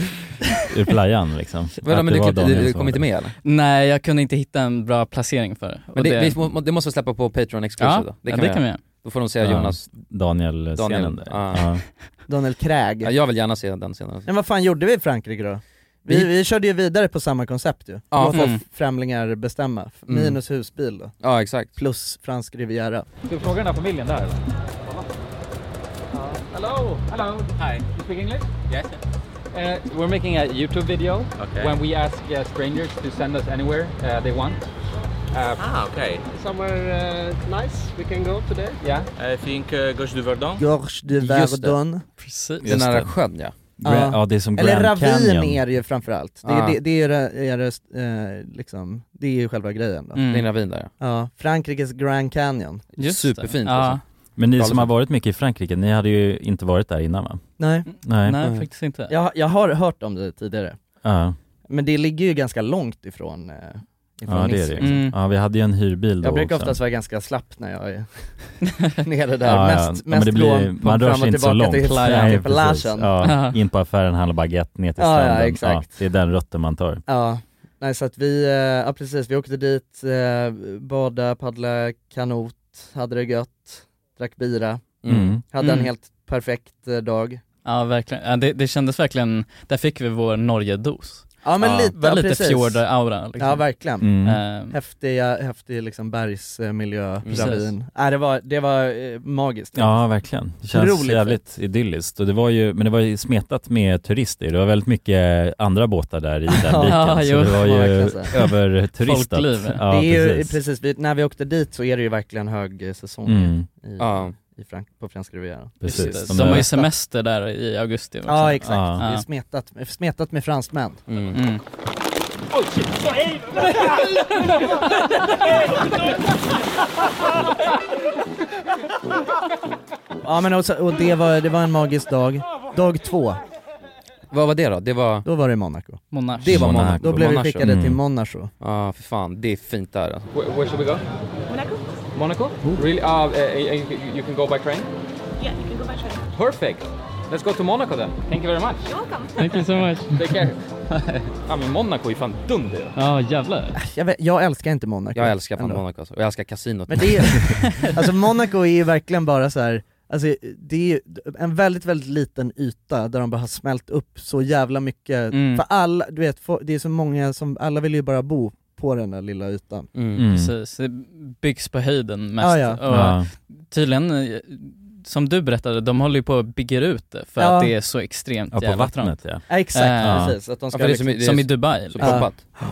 D: ur playan liksom.
C: Vadå,
D: Att
C: men du
D: var
C: klippte-
D: Daniel
C: du
D: som
C: kom
D: var
C: inte
D: där.
C: med, eller?
F: Nej, jag kunde inte hitta en bra placering för det.
C: Men
F: Och
C: det, vi må, det måste vi släppa på Patreon Exclusive
F: Ja,
C: då.
F: ja, det kan vi göra.
C: Då får de se
D: Ja,
C: Jonas...
D: Daniel-scenen
C: Daniel,
D: där.
C: Ja.
D: Ja.
E: Daniel Craig.
C: Ja, jag vill gärna se den scenen.
E: Men vad fan gjorde vi i Frankrike då? Vi, vi, körde ju vidare på samma koncept ju.
C: Ja,
E: Låta
C: mm.
E: främlingar bestämma.
C: Mm.
E: Minus husbil då.
C: Ja exakt.
E: Plus fransk riviera.
O: Ska vi fråga den här familjen där eller? Hello, hello. Hi. You speak English? Yes. Uh, we're making a YouTube video
P: Okay.
O: when we ask uh, strangers to send us anywhere uh, they want. Uh,
P: Ah, okay.
O: Somewhere uh, nice we can go today. Yeah.
P: I think uh, Gauche du Verdon.
E: Gorge de Verdon.
F: Precis.
C: Den
D: Just
C: nära
D: det.
C: sjön ja.
D: Gra- ja, det är som
E: Eller
D: Grand
E: ravin
D: Canyon.
E: är det ju framförallt. Det,
C: Ja.
E: är det, det är det, är det, eh, liksom, det är ju själva grejen då.
C: Mm. Det är en ravin där,
E: ja. Frankrikes Grand Canyon.
C: Superfint alltså.
D: Men ni som
E: Galet
D: har varit mycket i Frankrike, ni hade ju inte varit där innan va?
E: Nej.
D: Nej.
F: Mm, inte.
E: Jag, jag har hört om det tidigare.
D: Ja.
E: Men det ligger ju ganska långt ifrån, eh, ifrån
D: Ja det är
E: Nice,
D: det
E: liksom.
D: mm. Ja vi hade ju en hyrbil då
E: Jag brukar
D: också.
E: oftast vara ganska slapp när
F: (laughs)
E: jag är (laughs) nere där,
D: Ja, ja.
E: mest,
D: Ja, men
E: mest
D: det blir-
E: lån på
D: Man rör
E: fram
D: sig
E: och
D: inte så
E: tillbaka
D: långt.
E: till
D: Nej,
E: Plagen.
D: precis. Ja, in på affären, handla baguette, ner till
E: Ja, ja,
D: stranden.
E: exakt.
D: det är den rutten man tar.
E: Ja, nej så att vi, eh, ja precis, vi åkte dit, eh, bada, paddla kanot, hade det gött, drack bira,
F: Mm.
E: hade en
F: Mm.
E: helt perfekt eh, dag.
F: Ja verkligen, ja, det, det kändes verkligen, där fick vi vår Norge-dos.
E: Ja men lite, ja,
F: väl lite
E: precis.
F: fjord-aura liksom.
E: Ja verkligen.
Q: Mm,
D: Mm.
F: Eh,
E: Häftiga, häftig liksom bergsmiljö,
D: Precis.
E: ravin. Ja, det var, det var eh, magiskt.
D: Ja verkligen, det känns
E: Otroligt
D: jävligt idylliskt. Och det var ju, men det var ju smetat med turister, det var väldigt mycket andra båtar där (laughs) i den
E: (laughs) Ja,
D: viken.
E: jo,
D: så det var
E: får man
D: ju
E: verkligen säga.
D: överturistat. Ja,
E: det är ju,
D: precis.
E: precis, vi, när vi åkte dit så är det ju verkligen hög eh, säsong
D: Mm.
E: i, i Frank, på franska rivieran.
D: Precis.
F: Just det.
D: De
F: De har
D: där-
F: ju semester där i augusti också.
E: Ja exakt,
F: Ja.
E: det är smetat, smetat med fransmän.
F: Mm.
R: Oh shit, sorry!
E: Ja men och, så- och det, var, det var en magisk dag. Dag två.
C: Vad var det då? Det var...
E: liksom. Då var det Monaco.
F: Monaco.
C: Det var Monaco.
E: Då blev vi
C: Monaco.
E: skickade till
C: Mm.
E: Monaco.
C: Ja för fan, det är fint där alltså.
O: Where, where should we go? Monaco. Ah, Monaco? Really? Uh, uh, eh, you, you can go by train.
M: Yeah, you can go by train.
O: Perfect.
S: Let's go to Monaco then. Thank you very much. You're welcome.
F: Thank you so much.
S: Take care.
F: (laughs)
O: Ah,
S: ja men Monaco är fan dunder ju.
F: Ja jävlar.
Q: Jag, vet, jag älskar inte Monaco.
C: Jag älskar fan
Q: ändå.
C: Monaco alltså. och jag älskar kasinot.
Q: Men det är, (laughs)
C: (laughs)
Q: alltså Monaco är ju verkligen bara så här. Alltså det är ju en väldigt, väldigt liten yta där de bara har smält upp så jävla mycket,
F: Mm.
Q: för alla, du vet, fo- det är så många som, alla vill ju bara bo på den där lilla ytan.
D: Mm.
F: Mm,
E: Mm.
F: Precis, det byggs på höjden mest.
Q: Ja, ja.
F: Och
Q: Mm. Ja.
F: Tydligen, eh, som du berättade, de håller ju på och bygger ut det för
Q: Ja.
F: att det är så extremt
Q: Ja, på
F: jävla
Q: vattnet,
F: trångt.
Q: ja. Ja, exakt,
F: Eh,
Q: precis, att de ska
F: ja, för det är som,
Q: liksom-
F: i- som i Dubai.
C: Så
F: liksom.
C: proppat.
F: Ja.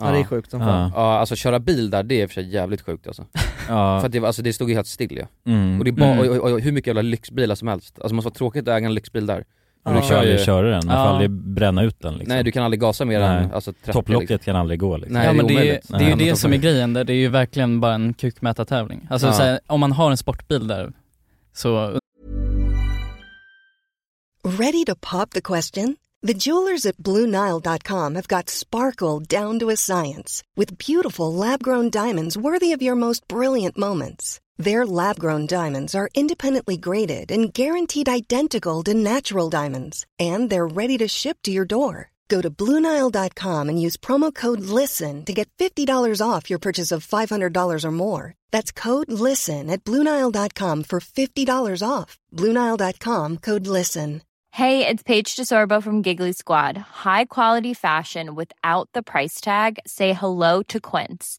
Q: Ja, det är sjukt som fan.
C: Ja, alltså köra bil där, det är i och för sig jävligt sjukt alltså. För att det, var- alltså, det stod ju helt still ju.
T: Mm.
C: Och det är bara,
T: Mm.
C: och, och, och, hur mycket jävla lyxbilar som helst. Alltså det måste vara tråkigt att äga en lyxbil där.
T: Men du kan ju köra den, man får
C: Ja.
T: aldrig bränna ut den liksom.
C: Nej du kan aldrig gasa mer än
T: Nej.
C: alltså, 30
T: Topplocket
C: liksom.
T: kan aldrig gå liksom.
C: Nej,
F: ja, men det, är,
C: omöjligt.
F: Eh, det är
C: Nej,
F: ju
C: men
F: det
C: de
F: som är grejen där, det är ju verkligen bara en kukmätartävling. Alltså
C: Ja.
F: så här, om man har en sportbil där, så
U: Ready to pop the question? The jewelers at BlueNile.com have got sparkle down to a science with beautiful lab grown diamonds worthy of your most brilliant moments. Their lab grown diamonds are independently graded and guaranteed identical to natural diamonds, and they're ready to ship to your door. Go to BlueNile.com and use promo code LISTEN to get $50 off your purchase of $500 or more. That's code LISTEN at BlueNile.com for $50 off. BlueNile.com code LISTEN.
V: Hey, it's Paige DeSorbo from Giggly Squad. High quality fashion without the price tag. Say hello to Quince.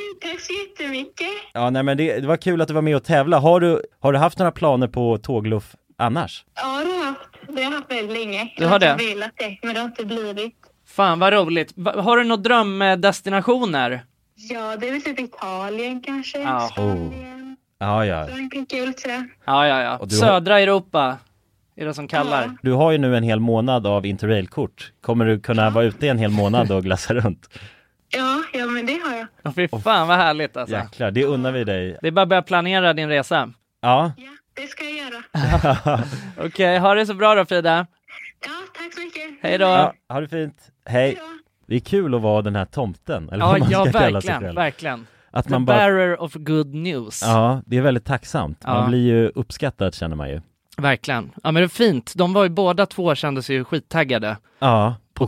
W: Tack så jättemycket.
D: Ja, nej men det, det var kul att du var med och tävla. Har du, har du haft några planer på tågluff annars?
W: Ja, det har jag haft. Det har jag haft väldigt länge.
E: Du har det?
W: Jag har velat det, men det har inte blivit.
E: Fan vad roligt. Va- Har du några drömdestinationer?
W: Ja, det är väl typ Italien kanske.
E: Ja.
D: Ja, ja.
W: Frankrike, kul tror jag.
E: Ja, ja, ja.
D: Och du har-
E: Södra Europa är det som kallar.
D: Du har ju nu en hel månad av interrailkort. Kommer du kunna vara ute i en hel månad och glassa runt?
W: Ja, ja men det har jag.
E: Ja, fy fan vad härligt alltså.
D: Jäklar, det unnar vi dig.
E: Det är bara att börja planera din resa.
D: Ja.
W: Det ska jag göra.
E: (laughs) Okej, ha det så bra då Frida.
W: Tack så mycket.
E: Hej då.
D: ja ha det fint. Hej. Det är kul att vara den här tomten, eller
E: Ja,
D: vad man
E: ja
D: ska kalla sig
E: verkligen,
D: själv.
E: verkligen.
D: Att
E: The
D: man bara-
E: bearer of good news.
D: Ja, det är väldigt tacksamt. Man
E: Ja.
D: blir ju uppskattad känner man ju.
E: Verkligen. Ja men det är fint. De var ju båda två kände sig ju skittaggade.
D: Ja.
E: På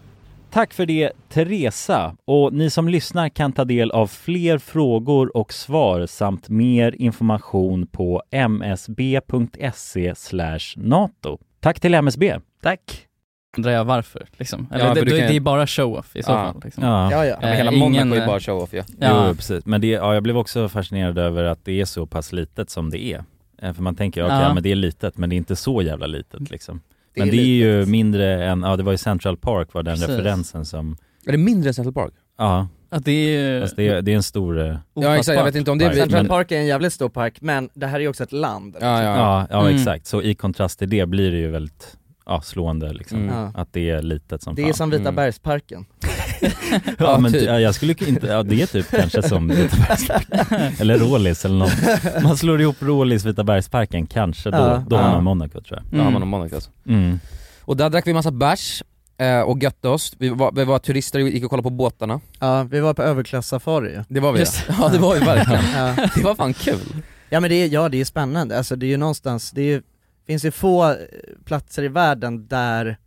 D: Tack för det Teresa och ni som lyssnar kan ta del av fler frågor och svar samt mer information på
A: E
D: msb.se NATO. Tack till MSB.
E: Tack.
D: Undrar jag varför
F: liksom. Eller det, det, det är bara show-off i så
D: Ja.
F: fall. Liksom.
D: Ja. Ja, ja.
F: Eh,
D: Men hela
F: ingen-
D: Monaco är bara show-off, ja.
F: ja.
D: Jo,
A: precis. Men det, ja, jag blev också fascinerad över att det är så pass litet som det är. Eh, För man tänker, okej,
D: Ja.
A: ja. men det är litet, men det är inte så jävla litet liksom.
C: Det
A: Men
C: är
A: det är ju mindre än, ja det var ju Central Park var den
C: Precis.
A: referensen som,
C: Är det mindre än Central Park?
A: ja.
F: Att det är
A: Fast det är, det är en stor... eh, park,
B: Central
A: men-
B: Park är en jävligt stor park, men det här är ju också ett land.
A: Ja, ja.
B: liksom.
A: ja,
B: Mm.
A: exakt. Så i kontrast till det blir det ju väldigt ja, slående liksom.
B: Mm. Ja.
A: Att det är litet som
B: Det
A: fan.
B: är som Vita
E: Mm.
B: bergsparken.
A: Mm. (laughs) Ja, typ. men
E: typ.
A: ty- ja, jag skulle inte, ja, det är typ kanske som
E: (laughs)
A: Vita
B: (laughs)
A: bergsparken. Eller Rålis eller något. Man slår ihop Rålis, Vita bergsparken, kanske då,
C: Ja.
A: då har
C: Ja. Mm.
A: man Monaco tror jag.
E: Mm.
C: Då har man nog Monaco alltså.
A: Mm.
C: Och där drack vi massa bärs, eh, och götte oss. Vi var, vi var turister och gick och kollade på båtarna.
E: Ja, vi var på överklassafari ju.
C: Det var vi
E: Just-
C: (laughs) ja. Ja det var vi
E: (laughs)
C: verkligen. Det var fan kul.
E: Ja men det är, ja, det är spännande, alltså det är ju någonstans, det är ju, finns ju få eh, platser i världen där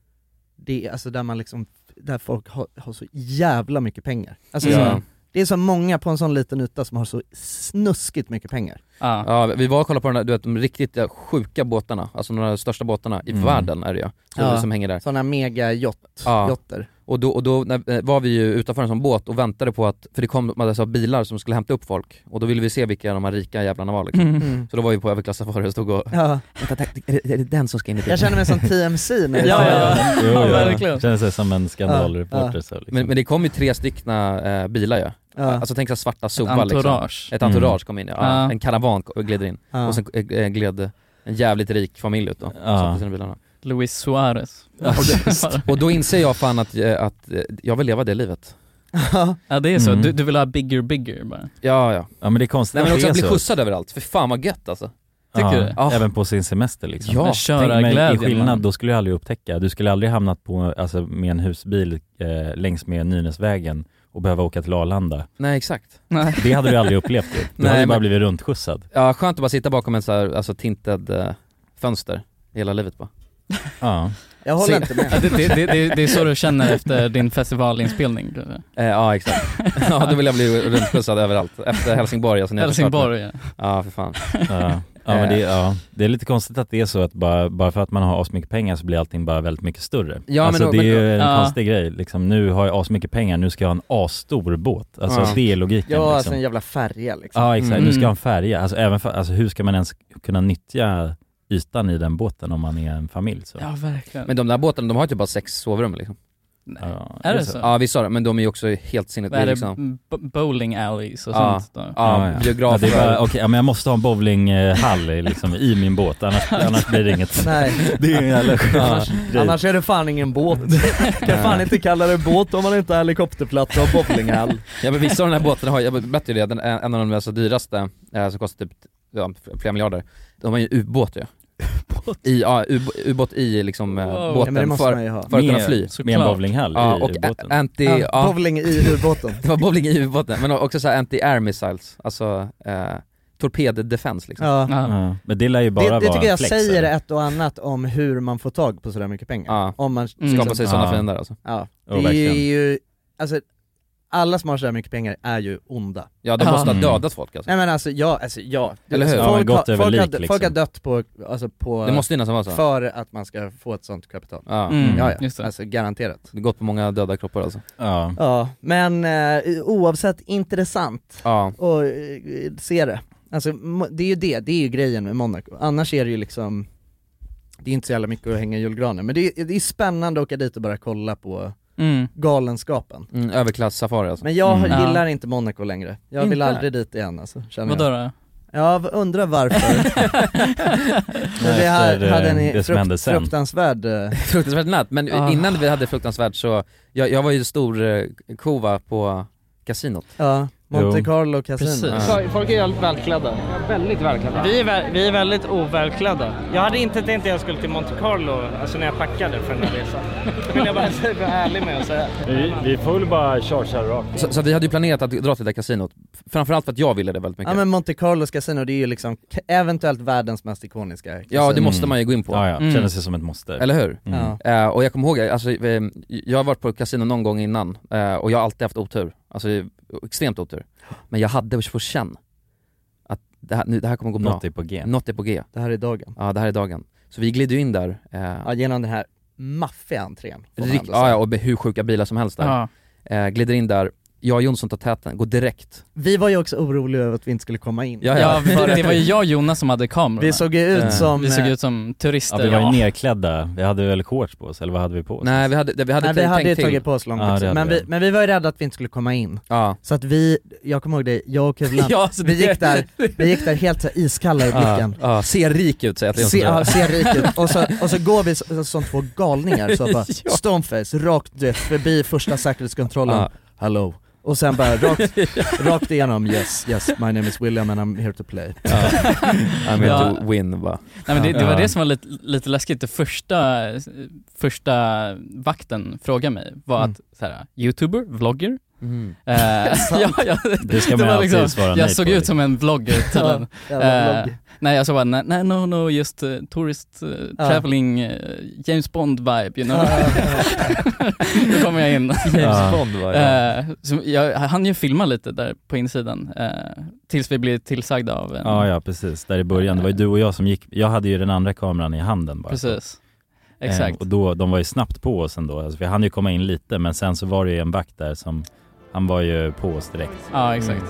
E: det, alltså där man liksom, där folk har, har så jävla mycket pengar. Alltså
C: Ja.
E: så, det är så många på en sån liten yta som har så snuskigt mycket pengar.
C: Ja, vi var och kollade på den där, du vet, de riktigt eh, sjuka båtarna, alltså några av de största båtarna i
E: Mm.
C: världen är det ju, som,
E: Ja.
C: som hänger där.
E: Sådana mega yacht,
C: Ja.
E: yachter.
C: Och då, och då när, eh, var vi ju utanför en sån båt och väntade på att, för det kom en massa bilar som skulle hämta upp folk och då ville vi se vilka de här rika jävlarna var liksom.
E: Mm.
C: Så då var vi på överklassafari och stod och
E: Ja.
C: Vänta, tack, är, det, är det den som ska in i bilen?
E: Jag känner mig som TMC nu.
D: Jo, jo. Känner sig som en skandalreporter
E: Ja, ja.
D: så liksom.
C: men, men det kom ju tre styckna eh, bilar ju.
E: Ja.
C: Alltså tänk så här svarta Zoa
F: entourage.
C: Liksom. Ett entourage
F: Mm.
C: kom in ja.
F: Ja.
C: En karavan ko- gled in.
F: Ja.
C: Och sen eh, gled en jävligt rik familj ut då.
F: Ja.
C: Satt i sina bilarna.
F: Luis Suarez. (laughs)
C: Och, det, och då inser jag fan att, eh, att eh, jag vill leva det livet.
F: ja det är så,
C: Mm.
F: du, du vill ha bigger bigger bara.
C: Ja, ja.
D: Ja men det är konstigt
C: Nej men
D: att
C: också
D: det
C: att
D: är
C: bli
D: så.
C: skjutsad överallt, för fan vad gött alltså.
D: Ja,
C: Ja.
D: Även på sin semester liksom.
C: Ja. Men köra
D: Tänk mig i
C: glädjen,
D: skillnad,
C: man.
D: då skulle jag aldrig upptäcka. Du skulle aldrig hamnat på, alltså, med en husbil eh, längs med Nynäsvägen och behöva åka till Arlanda.
C: Nej exakt.
D: Det hade du aldrig upplevt ju. Du
C: Nej,
D: hade ju bara
C: men-
D: blivit runtskjutsad.
C: Ja skönt att bara sitta bakom en så här, alltså tinted eh, fönster hela livet bara.
D: Ja.
E: Jag håller inte med.
F: (laughs) Ja, det, det, det, det, det är så du känner efter din festivalinspelning. tror jag.
C: Eh, ja exakt. (laughs) Ja då vill jag bli runtskjutsad överallt. Efter Helsingborg alltså, när jag
F: Helsingborg,
C: försvart mig. Ja för fan. Eh,
E: (laughs)
D: Ja. Ja, men det,
E: Eh.
D: ja, det är lite konstigt att det är så att bara, bara för att man har asmycket pengar så blir allting bara väldigt mycket större.
C: Ja, men
D: alltså
C: då-
D: det är
C: men då-
D: ju en
C: ja.
D: konstig grej, liksom, nu har jag asmycket pengar, nu ska jag ha en asstor båt. Alltså
E: Ja.
D: det är logiken.
E: Ja,
D: liksom.
E: alltså en jävla färja liksom.
D: Ja exakt,
E: Mm.
D: du ska ha en färja. Alltså, även för, alltså, hur ska man ens kunna nyttja ytan i den båten om man är en familj? Så.
F: Ja verkligen.
C: Men de där båtarna, de har ju typ bara sex sovrum liksom.
D: Ja,
F: Är det så?
C: Ja vi sa det, men de är ju också helt sinnet.
F: Vad är det,
C: liksom...
F: b- bowling alleys och
C: Ja.
F: sånt då?
C: Ja, biografer.
D: det är bara, okej, ja, men jag måste ha en bowlinghall i- liksom, i min
E: (laughs)
D: båt, annars, annars blir det inget.
E: Nej.
D: (laughs) Det är ju
E: (laughs)
D: en jävla skön
E: annars,
D: grej.
E: annars är det fan ingen
D: (laughs)
E: båt. kan fan inte kalla det båt om man inte har helikopterplatta och bowlinghall.
C: Ja men vissa av de här båtarna har, jag berättade ju det, den, en av de mest dyraste, eh, som kostar typ ja, flera miljarder, de har ju ubåt ju. I, ja, ub- ubåt i liksom eh,
E: Wow. Ja, men
C: båten
E: det måste man ju
C: för,
E: ha.
C: för att kunna
E: Med-
C: fly.
D: med en bowlinghall i
C: ja, och
D: ubåten.
C: a- Anti,
E: Ja,
C: ja,
E: bowling i ubåten.
C: (laughs) det var bowling i ubåten, men också så här anti-air missiles, alltså eh, torped defense liksom.
E: Ja.
D: Ja, men det lär ju bara
E: Det, det
D: vara
E: tycker
D: en
E: jag
D: flex,
E: säger
D: eller?
E: ett och annat om hur man får tag på sådär mycket pengar.
C: Ja.
E: Om man
C: Mm. Skapa sig sådana fiender, alltså.
E: Ja.
C: Ja,
E: Det är
C: verkligen.
E: ju, alltså, alla som har sådär mycket pengar är ju onda.
C: Ja, de
D: Mm.
C: måste ha dödat folk, alltså.
E: Nej men alltså ja, alltså ja.
C: Eller hur? Ja,
E: Folk,
C: men gått
E: har,
C: över
E: folk, har,
C: lik, liksom.
E: folk har dött på, alltså på...
C: Det måste ju nästan vara så.
E: För att man ska få ett sånt kapital.
C: Ja.
D: Mm.
E: ja, ja.
C: Just
E: det. Alltså garanterat.
C: Det har gått på många döda kroppar alltså.
D: Ja.
E: Ja, men eh, oavsett intressant
C: Ja.
E: och eh, se det. Alltså mo- det är ju det, det är ju grejen med Monaco. Annars är det ju liksom, det är inte så jävla mycket att hänga i julgranen. Men det är, det är spännande att åka dit och bara kolla på
F: Mm.
E: galenskapen.
C: Mm, Överklass-safari alltså.
E: Men jag
C: Mm.
E: gillar
C: Ja.
E: inte Monaco längre. Jag vill
C: Inte?
E: aldrig dit igen alltså, känner
F: Vadå
E: jag.
F: då?
E: Ja, v-
F: (laughs)
E: undrar varför. Men vi
C: Efter,
E: här,
C: eh,
E: hade en
C: det som hände sen. (laughs)
E: fruktansvärd... eh,
C: Fruktansvärt natt, men
E: Ah.
C: innan vi hade fruktansvärt så, jag, jag var ju stor eh, kova på kasinot. Ah.
E: Ja, Monte Carlo kasino.
C: Ja.
I: Folk är jävligt välklädda. Väldigt välklädda.
K: Vi är, vä- vi är väldigt ovälklädda. Jag hade inte tänkt att jag skulle till Monte Carlo alltså när jag packade för den här (laughs) resan. Det vill jag bara vara ärlig med och säga.
P: Vi, vi får väl bara chargea rakt.
C: Så, så vi hade ju planerat att dra till det där kasinot, framförallt för att jag ville det väldigt mycket.
E: Ja men Monte Carlos kasino det är ju liksom k- eventuellt världens mest ikoniska
C: Ja det måste man ju gå in på.
D: Alltså, mm. Ja,
E: Mm.
D: ja. Känner sig som ett måste.
C: Eller hur?
D: Mm.
C: Eh, och jag kommer ihåg, alltså, eh, jag har varit på kasino någon gång innan eh, och jag har alltid haft otur. Alltså extremt otur. Men jag hade på känn att det här, nu, det här kommer gå bra.
D: Något är på G.
C: Något är på G.
E: Det här är dagen.
C: Ja det här är dagen. Så vi glider ju in där. Eh,
E: Ja genom den här maffiga entrén får man
C: Rikt,
E: ändå säga.
C: ja, ja, och be- hur sjuka bilar som helst där.
E: Ja.
C: Eh, glider in där, jag och Jonsson tar täten, går direkt.
E: Vi var ju också oroliga över att vi inte skulle komma in.
C: Ja,
F: Ja, vi, det var ju jag och Jonas som hade kamerorna.
E: Vi såg ju ut
F: Eh,
E: som,
F: Vi såg
E: eh,
F: ut som turister.
D: Ja, vi var
F: (laughs)
D: ju nerklädda, vi hade väl shorts på oss, eller vad hade vi på oss?
C: Nej vi hade, vi hade,
E: Nej, vi
C: tänkt-
E: hade ju
C: tänkt till.
E: tagit på oss
D: Ja, det
E: långt
D: hade
E: men,
D: vi.
E: vi, men vi var ju rädda att vi inte skulle komma in.
C: Ja.
E: Så att vi, jag kommer ihåg dig, jag och
C: (laughs)
E: Kulan,
C: Ja, så
E: vi,
C: det- (laughs)
E: gick där, vi gick där helt så här iskalla i blicken.
C: Ja, ja, ser rik ut säger jag till
E: Se,
C: Jonsson.
E: ja, ser
F: (laughs)
E: rik ut. Och så, och så går vi så- så- som två galningar så bara,
C: Ja.
E: stoneface, rakt du vet, förbi första säkerhetskontrollen.
C: Ja.
E: Hello, och sen
F: (laughs)
E: bara rakt, rakt igenom, yes, yes, my name is William and I'm here to play. (laughs)
C: Ja. I'm here
F: Ja.
C: to win va?
F: Nej, men det, det var
C: Ja.
F: det som var lite, lite läskigt. Det första, första vakten frågade mig var
C: Mm.
F: att, så här, youtuber, vlogger?
C: Mm.
E: (laughs)
F: Eh, (laughs) ja, ja,
D: Det ska man
F: var
D: alltid svara nej
F: Jag såg
D: på,
F: ut
D: liksom.
F: som en
E: (laughs)
F: vlogger tydligen.
D: Ja, jävla
F: Eh,
D: vlogg.
F: nej jag sa bara, nej, nej no no, just eh, tourist, eh,
E: Ja.
F: traveling, eh, James Bond vibe you know.
E: Ja, ja,
F: (laughs) Då kommer jag in.
C: James Bond var det.
F: Eh, så jag hann ju filma lite där på insidan, eh, tills vi blev tillsagda av en
D: Ja, ja precis. Där i början, det var ju du och jag som gick, jag hade ju den andra kameran i handen bara.
F: Precis.
D: Eh,
F: Exakt.
D: och då, de var ju snabbt på oss ändå, alltså, vi hann ju komma in lite men sen så var det ju en vakt där som, han var ju på oss direkt.
F: Ja, exakt.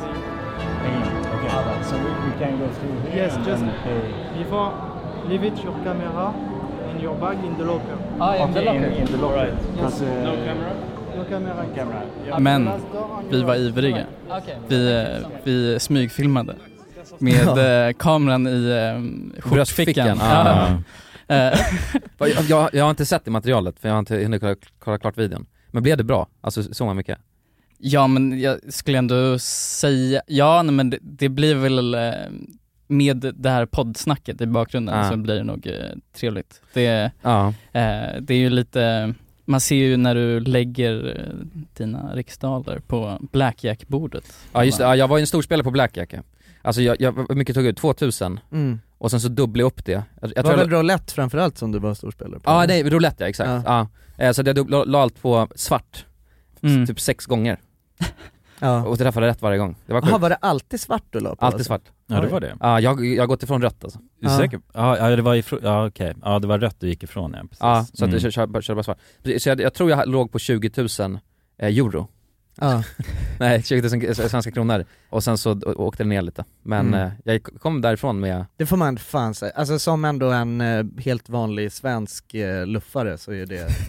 X: So we, we can go through here.
L: Yes,
X: and
L: just
X: then pay.
L: before leave it your camera and your bag in the locker.
X: Okay, Ah, In, in the locker.
L: Yes.
X: Because, uh,
L: No camera. camera.
F: Men vi var ivriga. Vi, eh, vi smygfilmade med eh, kameran i eh, skjortfickan.
C: Ah.
F: Ja. Eh,
C: (laughs) Jag, jag, jag har inte sett det materialet för jag har inte hunnit kolla, kolla klart videon. Men blev det bra? Alltså så man mycket?
F: Ja men jag skulle ändå säga, ja nej, men det, det blir väl eh, med det här poddsnacket i bakgrunden
C: Ja.
F: så blir det nog eh, trevligt. Det,
C: Ja.
F: eh, det är ju lite, man ser ju när du lägger eh, dina riksdaler på blackjack-bordet.
C: Ja just det, ja, jag var ju en storspelare på blackjack. Alltså jag, jag hur mycket tog jag ut? 2000?
E: Mm.
C: Och sen så dubblade jag upp det. Jag,
E: Det
C: jag
E: var
C: tror jag,
E: väl roulette framförallt som du var storspelare på?
C: ja det är roulette ja, exakt. Ja. Eh, Så jag dubb- la, la allt på svart,
E: Mm.
C: typ sex gånger.
E: (laughs) Ja.
C: Och träffade rätt varje gång. Det var
E: Jaha,
C: sjukt.
E: var det alltid svart du la på?
C: Alltid
E: alltså?
C: svart.
D: Ja, det var det.
C: Ja, jag, jag har gått ifrån rött alltså.
D: Är du säker? Ja, ja, det var ifrån, ja okej. Ja, det var rött du gick ifrån ja, precis.
C: Ja, så att
D: Mm.
C: jag kör, kör, kör bara svart. Precis, Så jag, jag tror jag låg på 20 000 eh,
E: (laughs)
C: euro.
S: Ah.
E: Ja.
C: Nej, 20 000 svenska kronor. Och sen så å- åkte det ner lite. Men
E: Mm.
C: eh, jag kom därifrån med,
E: Det får man fan säga, alltså som ändå en eh, helt vanlig svensk eh, luffare så är det
C: (laughs)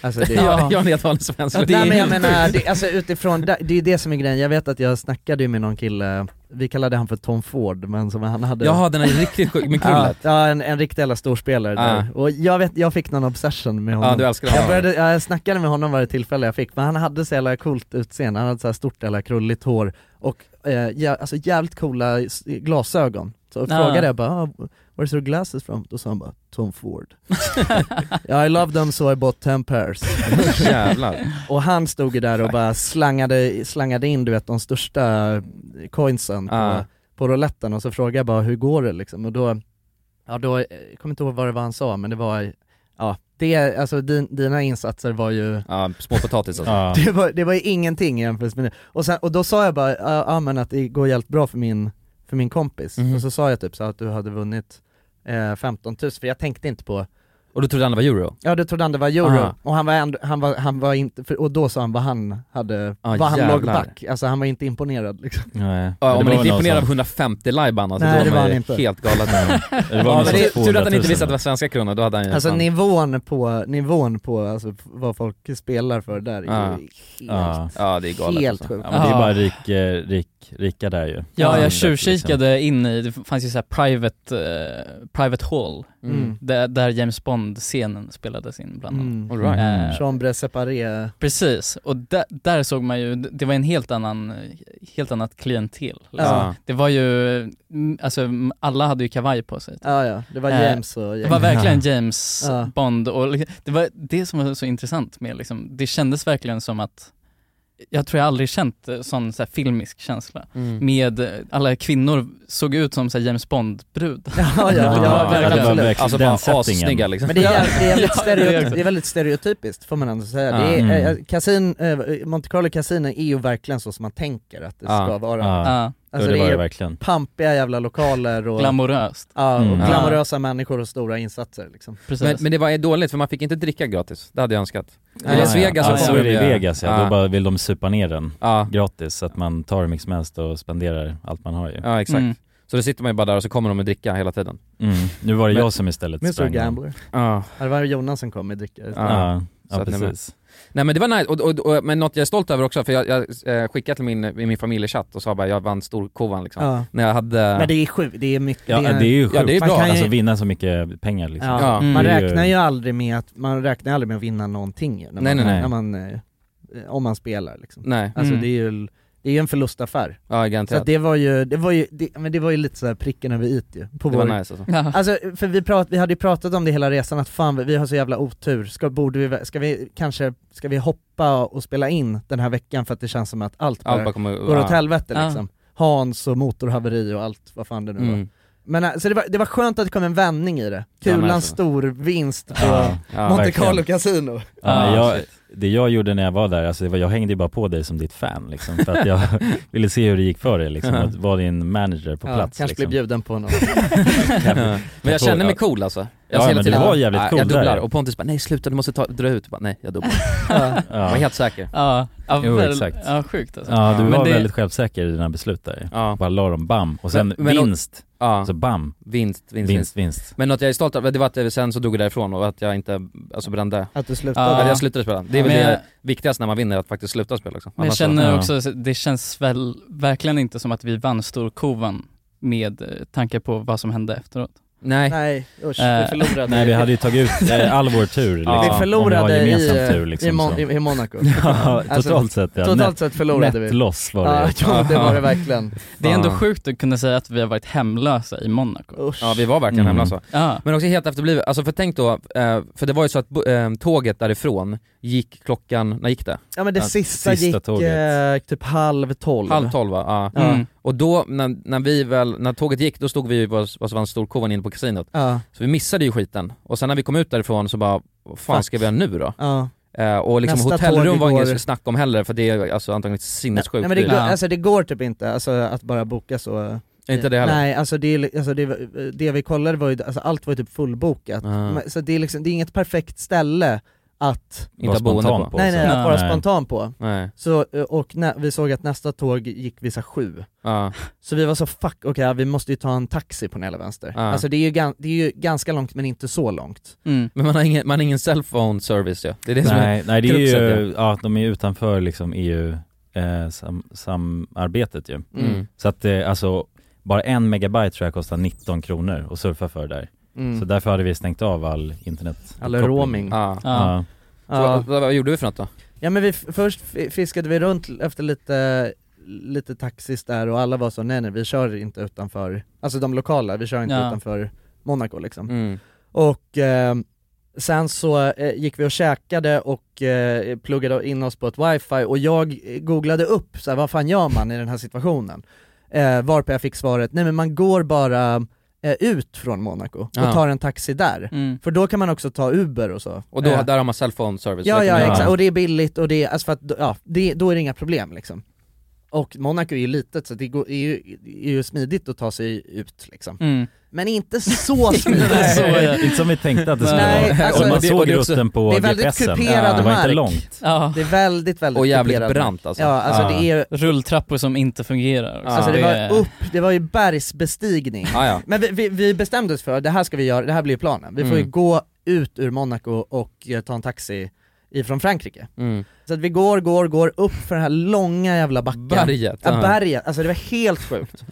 E: Alltså det
C: Ja, jag är en helt vanlig svensk
E: Ja,
C: luffare.
E: Nej men jag
C: Det är helt
E: menar,
C: sjukt.
E: det, alltså utifrån, det det är det som är grejen, jag vet att jag snackade ju med någon kille, vi kallade han för Tom Ford men som han hade
C: Jaha, den är riktigt sjuk, med
E: (laughs) Ja,
C: krullet.
E: ja en, en riktig jävla storspelare där,
C: Ja.
E: och jag vet, jag fick någon obsession med honom
C: Ja, du älskar honom.
E: Mm. jag, började, jag snackade med honom varje tillfälle jag fick, men han hade så jävla coolt utseende, han hade så här stort jävla krulligt hår och eh, jä, alltså jävligt coola s- glasögon Så
F: Ja.
E: frågade jag bara, ah, where's your glasses from? Då sa han bara, Tom Ford (laughs) I love them so I bought 10 pairs
C: (laughs) Jävlar.
E: Och han stod ju där och bara slangade, slangade in du vet de största coinsen på,
C: Ja.
E: på rouletten och så frågade jag bara hur går det liksom och då, ja då, eh, jag kommer inte ihåg vad det var han sa men det var, ja det, alltså din, dina insatser var ju
C: ja, små potatis alltså.
E: (laughs) det, var, det var ju ingenting jämfört med det. Och, sen, och då sa jag bara, ja ja, men att det går jävligt bra för min, för min kompis.
C: Mhm.
E: Och så sa jag typ så att du hade vunnit eh, 15 000, för jag tänkte inte på
C: Och du trodde han det var euro?
E: Ja då trodde han det var euro,
C: Aha.
E: och han var, ändå, han var, han var inte, för, och då sa han vad han hade,
C: Ah,
E: vad han låg
C: jävlar.
E: back, alltså han var inte imponerad liksom
D: Nej.
C: Ja, om
D: Det
C: man
D: var
C: inte
D: väl
C: imponerar av
D: någon
C: 150 lajban alltså,
E: Nej,
C: då
E: det
C: är
E: var
C: man
E: han
C: ju
E: inte.
C: helt
E: (laughs)
C: galen.
D: (laughs) Ja, det var
C: ja,
D: någon
C: men
D: som
C: det är
D: 200
C: tur att han
D: 000.
C: inte visste att det var svenska kronor, då hade han ju
E: Alltså
C: fan-
E: nivån på, nivån på alltså, f- vad folk spelar för där är ju
C: Ja.
E: helt,
D: Ja.
C: Ja, det är galet.
E: helt
C: alltså.
E: sjukt
D: Ja, men det är bara rik, eh, rik, rika där liksom. ju.
F: Ja,
D: Andra,
F: jag tjuvkikade in i, det fanns ju så här private, eh, private hall,
E: Mm.
F: där, där James Bond-scenen spelades in bland annat.
E: Mm.
F: right.
E: Mm. Chambre séparé
F: Precis, och där, där såg man ju, det var en helt annan, helt annat klientel. Liksom.
E: Ja.
F: Det var ju, mm, alltså m- alla hade ju kavaj på sig.
E: Ja, ja. Det var
F: Eh,
E: James och
F: Det
E: gäng.
F: var verkligen
E: Ja.
F: James
E: Ja.
F: Bond och liksom, det var det som var så intressant med liksom, det kändes verkligen som att jag tror jag aldrig känt eh, sån så här, filmisk känsla.
E: Mm.
F: Med eh, alla kvinnor såg ut som så här, James (laughs) Bond-brud.
E: Ja, ja, (laughs) ja, verkligen.
F: Alltså bara assnygga liksom.
E: Men det (laughs) är, jävligt- det, är
F: (laughs) Ja,
E: väldigt stereotyp,
F: också.
E: det är väldigt stereotypiskt får man ändå säga. Det
F: Ja.
E: är,
F: Mm.
E: eh, kasin, eh, Monte Carlo kasino är ju verkligen så som man tänker att det
D: Ja.
E: ska vara. Alltså,
D: Ja. Ja. Jo, det var
E: är
D: det verkligen.
E: pampiga jävla lokaler och
F: Glamoröst.
E: Ja, och
C: Mm.
E: glamorösa människor och stora insatser liksom.
C: Men, men det var dåligt för man fick inte dricka gratis, det hade jag önskat. I Las Vegas
D: ja, så
C: kommer
D: är det i
C: det-
D: Vegas ja.
C: Ja.
D: Då bara vill de supa ner den
C: Ja.
D: gratis så att man tar hur mycket som helst och spenderar allt man har ju.
C: Ja exakt.
D: Mm.
C: Så då sitter man ju bara där och så kommer de med dricka hela tiden.
D: Mm. Nu var det jag som istället
E: Mr
D: sprang.
E: Gambler.
C: Ja.
E: Ja, Det var Jonas som kom med dricka.
D: Ja, ja,
C: Så att, nej, men-
D: precis.
C: Nej men det var nice, och, och, och, men något jag är stolt över också, för jag, jag eh, skickade till min, i min familjechatt och sa bara jag vann storkovan liksom.
E: Ja.
C: När jag hade...
E: Men det är sjukt, det är mycket.
D: Ja, det är ju sjukt.
C: Ja, det är
E: Man
C: bra. Mm.
E: kan ju-
D: Alltså vinna så mycket pengar liksom.
E: Ja. Mm.
D: Det är
E: Man räknar ju aldrig med att, man räknar aldrig med att vinna någonting ju, när man,
C: Nej, nej, nej.
E: När man eh, eh, om man spelar liksom.
C: Nej.
E: Alltså
C: Mm.
E: det är ju, det är ju en förlustaffär.
C: Ja,
E: Så
C: garanterat.
E: att det var ju, det var ju, det, men det var ju lite såhär pricken över it ju. På
C: Det
E: vår,
C: var nice, alltså. Ja.
E: Alltså, för vi, prat, vi hade ju pratat om det hela resan, att fan vi har så jävla otur, ska, borde vi, ska vi kanske, ska vi hoppa och spela in den här veckan för att det känns som att allt bara,
C: Allt bara kommer-
E: går åt
C: ja.
E: helvete
C: Ja.
E: liksom. Hans och motorhaveri och allt, vad fan det nu var.
C: Mm.
E: Men äh, så det var, det var skönt att det kom en vändning i det.
C: Ja, men
E: Kulans
C: alltså.
E: stor vinst på
D: Ja, ja,
E: Monte
D: verkligen.
E: Carlo Casino.
D: Ja, men jag,
E: Shit.
D: det jag gjorde när jag var där, alltså det var, jag hängde ju bara på dig som ditt fan liksom, för
C: (laughs)
D: att jag ville se hur det gick för dig liksom,
C: Ja.
D: och var din manager på
E: Ja,
D: plats
E: kanske
D: liksom.
E: blir bjuden på
D: (laughs)
E: någon.
D: Ja.
C: Men jag känner mig cool alltså.
D: Ja,
C: ser
D: men du var jävligt
C: "Ah,
D: cool
C: Jag dubblar,
D: där.
C: och Pontus bara nej sluta du måste ta, dra ut, jag bara, nej jag
D: (laughs)
C: dubblar. Jag var helt säker.
F: Ja, ja,
D: Jo,
F: väl,
D: exakt.
F: ja sjukt alltså.
D: Ja, du
F: Men
D: var
F: det-
D: väldigt självsäker i dina beslut där.
C: Ja.
D: Bara la dem bam, och sen
C: Men- men-
D: vinst,
C: ja.
D: så bam.
C: Vinst, vinst, vinst.
D: vinst. vinst.
C: Men något jag är stolt över, det var att jag sen så dog jag därifrån och att jag inte, alltså brände.
E: Att du
F: slutade?
C: Eller jag slutade spela. Det är väl
F: Men-
C: det viktigaste när man vinner, att faktiskt sluta spela också.
F: Men jag
C: Annars så-
F: känner
C: Ja.
F: också, det känns väl verkligen inte som att vi vann storkovan med eh, tanke på vad som hände efteråt.
C: Nej.
E: Nej, usch, vi
F: Eh,
E: förlorade.
D: Nej vi hade ju tagit ut eh, all vår tur liksom.
E: Vi förlorade
D: Om vi har gemensam
E: i,
D: tur liksom.
E: i, Mon-
D: så.
E: i, i Monaco.
D: (laughs) ja, totalt
E: Alltså,
D: sett ja.
E: Totalt
D: Net-
E: sett förlorade vi.
D: Nettloss var
E: Ja,
D: det ju.
E: ja, (laughs) det var det verkligen.
F: Det är ändå
D: Fan.
F: sjukt att kunna säga att vi har varit hemlösa i Monaco.
C: Ja vi var verkligen
F: Mm.
C: hemlösa.
F: Ja.
C: Men också helt efterblivet, alltså för tänk då, eh, för det var ju så att bu- eh, tåget därifrån gick klockan, när gick det?
E: Ja men det sista, gick eh, typ halv tolv.
C: Halv tolv va? Ja.
E: Mm.
C: Och då när, när vi väl, när tåget gick, då stod vi ju på vad som var en storkovan inne på kasinot.
E: Ja.
C: Så vi missade ju skiten. Och sen när vi kom ut därifrån så bara, vad fan
E: Fuck.
C: ska vi göra nu då?
E: Ja.
C: Eh, och liksom
E: Nästa
C: hotellrum
E: tåg
C: var
E: går-
C: inget snack om heller för det är alltså antagligen
E: Nej
C: sinnessjukt eh,
E: men det
C: dyrt.
E: går, alltså, det går typ inte alltså, att bara boka så.
C: Inte det heller?
E: Nej, alltså det, är li- alltså, det, var- det vi kollade var ju, alltså, allt var ju typ fullbokat. Men- Så det är, liksom, det är inget perfekt ställe att
C: Inte Vara ha boende spontan på. på,
E: Nej nej,
C: så.
E: att vara
C: Nej.
E: spontan på.
C: Nej.
E: Så, eh, och nä- vi såg att nästa tåg gick vid så här sju.
C: Ja.
E: Så vi var så fuck, okej vi måste ju ta en taxi på den hela vänster.
C: Ja.
E: Alltså det är, ju gan- det är ju ganska långt men inte så långt.
C: Men man har ingen, man har ingen cellphone service ja. Det är det som
D: nej,
C: är
D: nej det är
C: kruxet,
D: ju, ja de är utanför liksom EU eh, sam, samarbetet ju.
C: Mm.
D: Så att eh, alltså, bara en megabyte tror jag kostar 19 kronor att surfa för där.
E: Mm.
D: Så därför hade vi stängt av all internet
E: All roaming.
C: Ja.
D: Mm. Ja.
C: Så vad- vad, vad gjorde vi för något då?
E: Ja men vi, f- först f- fiskade vi runt l- efter lite, lite taxis där och alla var så nej nej vi kör inte utanför, alltså de lokala, vi kör inte
C: Ja.
E: utanför Monaco liksom.
C: Mm.
E: Och eh, sen så eh, gick vi och käkade och eh, pluggade in oss på ett wifi och jag eh, googlade upp så här, vad fan gör man i den här situationen? Eh, varpå jag fick svaret, nej men man går bara eh, ut från Monaco och
C: Ja.
E: tar en taxi där.
C: Mm.
E: För då kan man också ta Uber och så.
C: Och då,
E: Eh,
C: där har man cellphone service.
E: Ja,
C: Det kan
E: ja
C: man-
E: exakt, och det är billigt och det är, alltså för att, ja, det, då är det inga problem liksom. Och Monaco är ju litet så det går, är, ju, är ju smidigt att ta sig ut liksom.
F: Mm.
E: Men inte så smidigt. (laughs)
D: Nej, så är det. Inte som vi tänkte att det skulle
E: Nej,
D: vara.
E: alltså-
D: och man
E: det-
D: såg
E: och det är också-
D: rutten på
E: det är väldigt
D: GPSen.
E: kuperad
D: det var inte
E: mark.
D: långt.
E: Det är väldigt, väldigt
F: Och jävligt
E: kuperad.
F: brant, alltså.
E: Ja, alltså
F: Ja.
E: det är
F: Rulltrappor som inte fungerar också.
E: Alltså det
F: är-
E: var upp, det var ju bergsbestigning.
F: Ja, ja.
E: Men vi, vi, vi bestämde oss för, det här ska vi göra, det här blir planen. Vi får ju
F: Mm.
E: gå ut ur Monaco och eh, ta en taxi ifrån Frankrike.
C: Mm.
E: Så att vi går, går, går upp för den här långa jävla backen.
C: Berget,
E: Ja,
C: ja.
E: berget. Alltså det var helt
F: (laughs)
E: sjukt.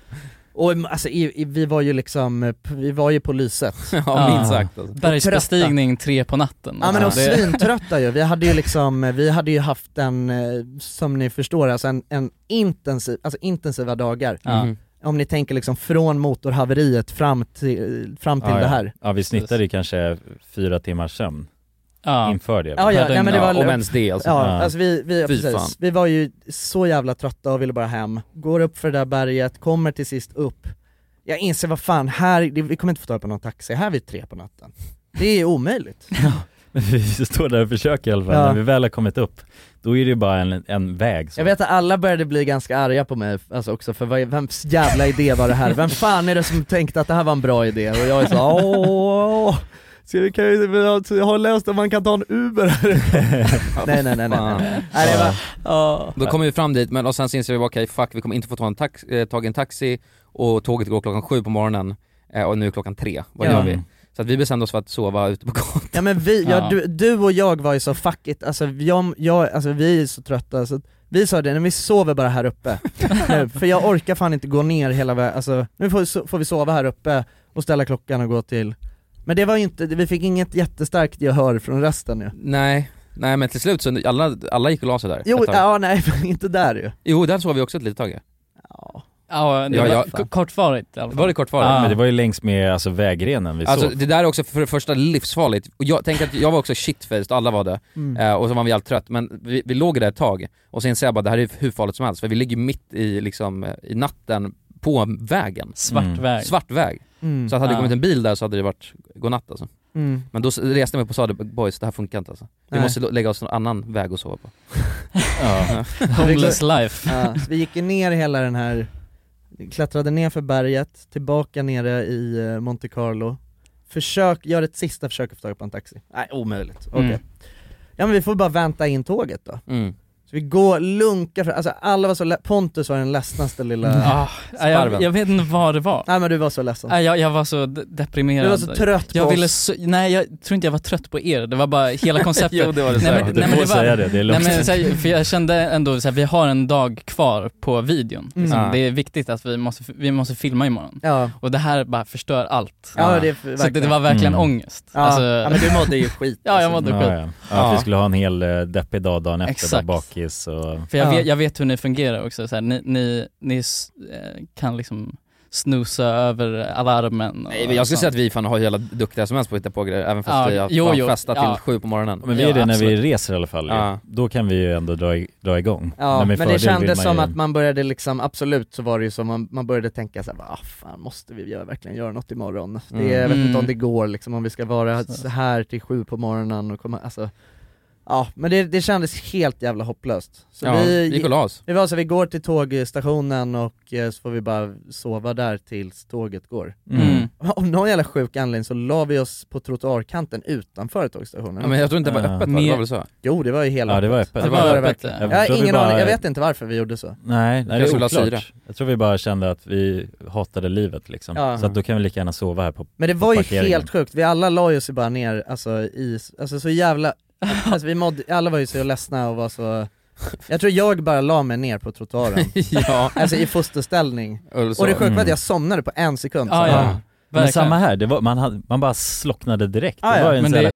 E: Och mm, alltså, i, i, vi var ju liksom, eh, p- vi var ju på lyset.
F: Ja, minst sagt, alltså. Bergsbestigning tre på natten.
E: Ja men och
F: Alltså, det-
E: svintrötta ju, vi hade ju liksom, eh, vi hade ju haft en, eh, som ni förstår, alltså en, en intensiv, alltså intensiva dagar.
D: Ja. Mhm.
E: Om ni tänker liksom från motorhaveriet fram till, fram till
D: ja,
E: det här.
D: Ja. ja vi snittade ju kanske fyra timmars sömn
F: Ja.
D: inför det.
E: Ja,
D: Ah.
E: ja, nej, men det var Ja,
D: Ja.
E: alltså vi, vi,
D: Fy fan.
E: precis. vi var ju så jävla trötta och ville bara hem. Går upp för det där berget, kommer till sist upp. Jag inser vad fan, här, det- vi kommer inte få tag på någon taxi, här vid tre på natten. Det är omöjligt.
D: (laughs) (laughs) Vi står där och försöker i alla fall,
E: Ja.
D: när vi väl har kommit upp, då är det ju bara en, en väg så.
E: Jag vet att alla började bli ganska arga på mig alltså också, för vad, vems jävla idé var det här? Vem fan är det som tänkte att det här var en bra idé? Och jag är så åh, ska vi, kan vi, jag har läst att man kan ta en Uber här. (laughs) nej, nej, nej, nej, nej. nej det var,
C: Då kommer vi fram dit, men och sen så inser vi okej fuck vi kommer inte få ta en tax, eh, tag i en taxi och tåget går klockan sju på morgonen eh, och nu är klockan tre, vad
E: Ja.
C: gör vi? Så att vi bestämde oss för att sova ute på gatan. (laughs)
E: Ja men vi, ja,
C: Ja.
E: Du, du och jag var ju så fuck it, alltså, jag, jag, alltså vi är så trötta så att vi sa det, nej, vi sover bara här uppe nu, för jag orkar fan inte gå ner hela vägen, alltså nu får, vi so- får vi sova här uppe och ställa klockan och gå till Men det var ju inte, vi fick inget jättestarkt gehör från resten ju
C: Nej Nej men till slut så, alla, alla gick och la sig där
E: Jo,
C: ett tag.
E: ja nej (laughs) men inte där ju.
C: Jo, där sov vi också ett litet tag ja.
F: Ja, det
C: Ja,
F: var
C: ja.
F: k- kortvarigt i alla fall.
C: Var det kortvarigt?
E: Ah.
F: Ja.
D: Men det var ju längs med alltså, vägrenen vi
C: Alltså
D: såg.
C: det där är också för det första livsfarligt, och jag tänker att jag var också shitfaced, alla var det,
D: Mm.
C: eh, och så var vi allt trött, men vi, vi låg där ett tag, och sen säger jag bara det här är hur farligt som helst, för vi ligger mitt i, liksom, eh, i natten på vägen.
F: Svart Mm. väg.
C: Svart väg.
F: Mm.
C: Så att hade det
F: Ja.
C: kommit en bil där så hade det varit godnatt alltså.
F: Mm.
C: Men då s- reste jag mig upp och sa det, boys det här funkar inte alltså. Vi
E: Nej.
C: måste lo- lägga oss någon annan väg att sova
D: (laughs)
C: på.
F: (laughs) Homeless life.
E: Ja, så vi gick ju ner hela den här, klättrade ner för berget, tillbaka nere i eh, Monte Carlo Försök, gör ett sista försök att få tag på en taxi. Nej omöjligt, okej.
C: Mm.
E: Ja men vi får bara vänta in tåget då.
C: Mm.
E: Så vi går, lunkar fram, alltså alla var så lä- Pontus var den ledsnaste lilla
F: Ah, jag,
E: sparven.
F: jag vet inte vad det var.
E: Nej men du var så ledsen.
F: Nej, jag, jag var så de- deprimerad.
E: Alltså. Du var så trött på
F: jag ville
E: oss.
F: så, Nej jag tror inte jag var trött på er, det var bara hela
E: (laughs)
F: konceptet.
C: Jo, det var det
F: nej,
C: säkert. Du får säga det, det är lugnt.
F: nej, men, så här, för jag kände ändå så här, vi har en dag kvar på videon.
E: Mm.
F: Liksom.
E: Ja.
F: Det är viktigt att vi måste, vi måste filma imorgon.
E: Ja.
F: Och det här bara förstör allt.
E: Ja, det är
F: så att det, det var verkligen ångest. Alltså-
E: Ja. ja men du mådde ju skit
F: (laughs)
E: liksom.
F: Ja, jag mådde
D: ja,
F: skit.
D: ja. Ja, att
E: Ah.
F: Ja.
D: vi skulle ha en hel eh, deppig dag dagen efter,
F: Exakt.
D: Exakt. bakis och...
F: För jag, vet, jag vet hur ni fungerar också, så här, ni, ni, ni s- eh, kan liksom snusa över alarmen och
C: Nej, men jag skulle
F: sånt.
C: säga att vi fan har hela duktiga som helst på att hitta på grejer, även fast
F: Ja,
C: vi har
F: jo,
C: fan
F: jo,
C: festat
F: ja.
C: till sju på morgonen.
D: Men vi är det när vi reser i alla fall. ju.
C: Ja.
D: Då kan vi ju ändå dra, i- dra igång.
E: Ah. Ja,
D: med
E: men,
D: fördel
E: det
D: vill
E: kändes
D: man
E: som
D: ju-
E: att man började liksom, absolut så var det ju som man, man började tänka såhär, ah fan måste vi göra, verkligen göra något imorgon? Det,
D: Mm.
E: Jag vet inte
D: Mm.
E: om det går liksom, om vi ska vara så här till sju på morgonen och komma, alltså Ja, men det, det kändes helt jävla hopplöst. Så
C: Ja, vi gick och la oss.
E: Vi var så här, vi går till tågstationen och eh, så får vi bara sova där tills tåget går.
C: Mm.
E: Av någon jävla sjuk anledning så la vi oss på trottoarkanten utanför tågstationen.
C: Ja, men jag tror inte det var
E: Ja.
C: öppet, va? Det var väl så?
E: Jo Eh, det var ju hela
D: Ja, det var öppet.
E: Det var öppet.
D: ja.
E: Jag
D: tror
E: har
D: vi
E: ingen
D: bara-
E: aning, jag vet inte varför vi gjorde så.
D: Nej, nej det
C: Jag
D: är
C: skulle ha syra.
D: oklart. Jag tror vi bara kände att vi hatade livet liksom.
E: Ja.
D: Så att då kan vi lika gärna sova här på
E: Men det
D: på
E: var ju
D: parkeringen.
E: helt sjukt, vi alla la ju sig bara ner alltså, i, alltså så jävla, alltså, vi mådde, alla var ju så ledsna och var så jag tror jag bara la mig ner på trottoaren,
C: ja.
E: alltså i fosterställning.
C: Och,
E: det sjuka var att
D: Mm.
E: jag somnade på en sekund.
D: Ja,
E: så.
D: ja. Men samma här, det var, man, hade, man bara slocknade direkt.
E: Ah,
D: det
E: ja.
D: var ju en
E: Men
D: sån här
E: det-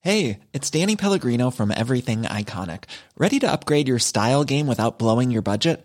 R: Hey, it's Danny Pellegrino from Everything Iconic. Ready to upgrade your style game without blowing your budget?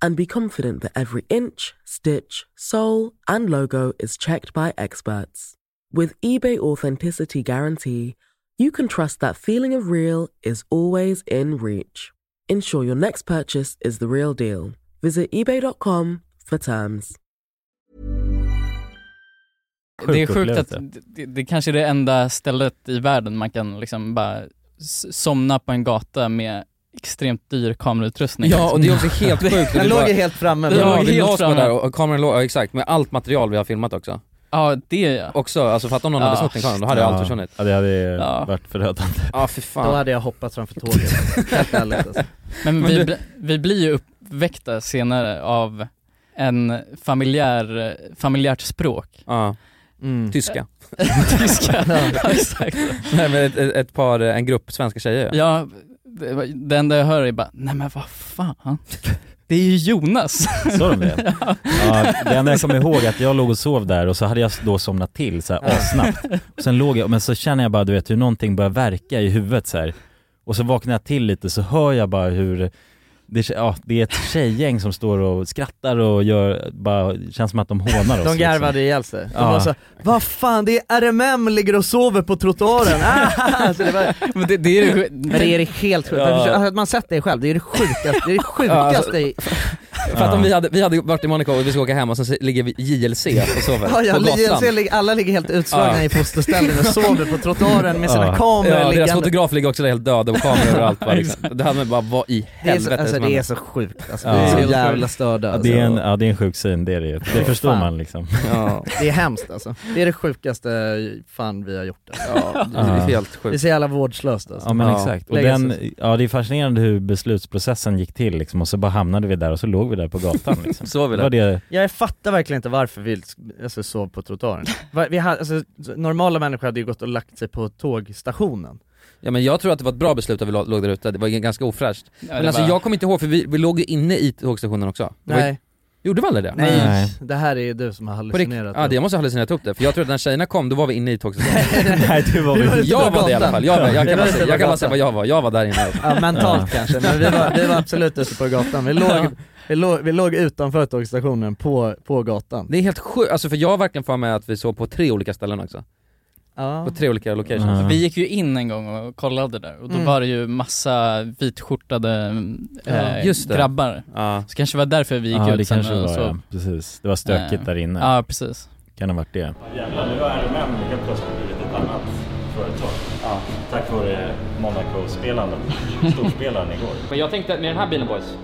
S: and be confident that every inch, stitch, sole, and logo is checked by experts. With eBay Authenticity Guarantee, you can trust that feeling of real is always in reach. Ensure your next purchase is the real deal. Visit eBay.com for terms.
F: Det är sjukt att
S: upplevelse.
F: det, det kanske är det enda stället i världen man kan liksom bara s- somna på en gata med extremt dyr kamerautrustning.
C: Ja och det
F: (laughs)
C: är också helt
F: Det-
C: sjukt.
F: Det bara- Den
C: Ja,
F: låg
C: vi la
F: helt
C: oss bara
F: framme.
C: där och, och kameran låg, ja, exakt, med allt material vi har filmat också.
F: Ja det ja.
C: Också, alltså för att om någon hade
F: Ja.
C: snott den kameran, då hade
D: ja.
C: allt försvunnit.
D: Ja, det hade ju varit förödande.
C: Ja fy fan.
E: Då hade jag hoppat
C: (laughs)
E: framför tåget, helt ärligt alltså.
F: Men
E: Men
F: vi,
E: du-
F: bl- vi blir ju uppväckta senare av en familjär, familjärt språk.
C: Ja.
E: Mm.
C: Tyska.
F: (laughs)
C: (laughs)
F: Tyska, ja, exakt.
C: Nej men ett, ett, ett par, eh, en grupp svenska tjejer
F: Ja, det, var- det enda jag hör är bara, nej men vad fan. Det är ju Jonas.
D: Sa
F: (laughs)
D: de det? ja. det enda jag kommer ihåg är att jag låg och sov där och så hade jag då somnat till så här assnabbt. Och sen låg jag, men så känner jag bara du vet hur någonting börjar verka i huvudet så här. Och så vaknar jag till lite så hör jag bara hur det, ja, det är ett tjejgäng som står och skrattar och gör, bara, känns som att de hånar oss
E: De garvade
D: liksom.
E: ihjäl sig. De
D: Ja.
E: Alltså, var så, här, vad fan det är RMM ligger och sover på trottoaren. Ah! så det
C: (laughs)
E: var,
F: Men det, det är ju...
E: men det är det helt sjukt,
F: Ja.
E: Alltså, att man sett det själv, det är det sjukaste, det är det sjukaste i...
C: För att om vi hade, vi hade varit i Monaco och vi ska åka hem och sen så ligger vi i JLC och sover
E: Ja, ja,
C: på gatan.
E: jag ser, lig- alla ligger helt utslagna
C: Ja.
E: i fosterställning och sover på trottoaren med sina
C: Ja.
E: kameror
C: ja, Deras
E: liggande.
C: fotograf ligger också där helt
E: (laughs)
C: död och kameror överallt bara liksom. Det hade man bara, vad i
E: Det är så,
C: helvete
E: alltså,
C: som
E: det är
C: händer?
E: så sjukt, alltså,
D: Ja.
E: det är
D: Det är
E: så jävla
D: sjukt.
E: störda.
D: Ja,
E: Alltså.
D: det, är en, ja, det är en sjuk syn, det är det ju. Det
E: Ja,
D: förstår
E: fan.
D: man liksom.
C: Ja.
E: Det är hemskt alltså. Det är det sjukaste eh, fan vi har gjort. Alltså.
C: Ja, det är helt
E: Det är
C: sjukt.
E: så jävla vårdslöst alltså.
D: Ja men exakt. Och
E: Lägga
D: den,
E: sig-
D: ja det är fascinerande hur beslutsprocessen gick till liksom, och så bara hamnade vi där och så låg vi där på gatan liksom.
C: Så vi
D: Det var det,
E: Jag fattar verkligen inte varför vi alltså, sov på trottoaren. Va- Vi hade, alltså, normala människor hade ju gått och lagt sig på tågstationen.
C: Ja men jag tror att det var ett bra beslut att vi lå- låg där ute, det var ganska ofräscht. men
E: det
C: alltså
E: var-
C: jag kommer inte ihåg för vi, vi låg ju inne i tågstationen också. Det var ju-
E: Nej.
C: Gjorde vi aldrig det?
E: Nej. det här är ju du som har
C: På rikt-
E: hallucinerat.
C: Ja det måste jag ha hallucinerat upp det, för jag tror att när tjejerna kom då var vi inne i tågstationen. (laughs)
E: (laughs)
D: Nej du var
E: Vi var ute på
C: jag var det i alla
E: gatan.
C: fall, jag, var, jag,
E: Vi
C: kan,
E: var
C: bara
E: ute
C: säga,
E: på
C: jag kan bara
E: gatan.
C: säga vad jag var, jag var där inne.
E: Ja, mentalt kanske, men vi var, vi var absolut ute på gatan. Vi låg, vi låg, vi låg utanför tågstationen på, på gatan.
C: Det är helt sjukt, alltså för jag har verkligen för mig att vi såg på tre olika ställen också. På tre olika locations.
F: Vi gick ju in en gång och kollade där och då
C: Mm.
F: var det ju massa vitskjortade eh,
C: Just det.
F: grabbar.
C: Ja.
F: Så kanske var därför vi gick
D: ja
F: ut
D: det
F: sen
D: kanske det
F: och
D: var
F: så.
D: ja. precis. Det var stökigt
F: Eh,
D: där inne.
F: Ja precis.
D: Kan ha varit det.
P: Jävlar, nu har RMM helt plötsligt blivit ett annat företag. Tack vare Monaco-spelaren, storspelaren igår.
I: Men jag tänkte att med den här bilen boys,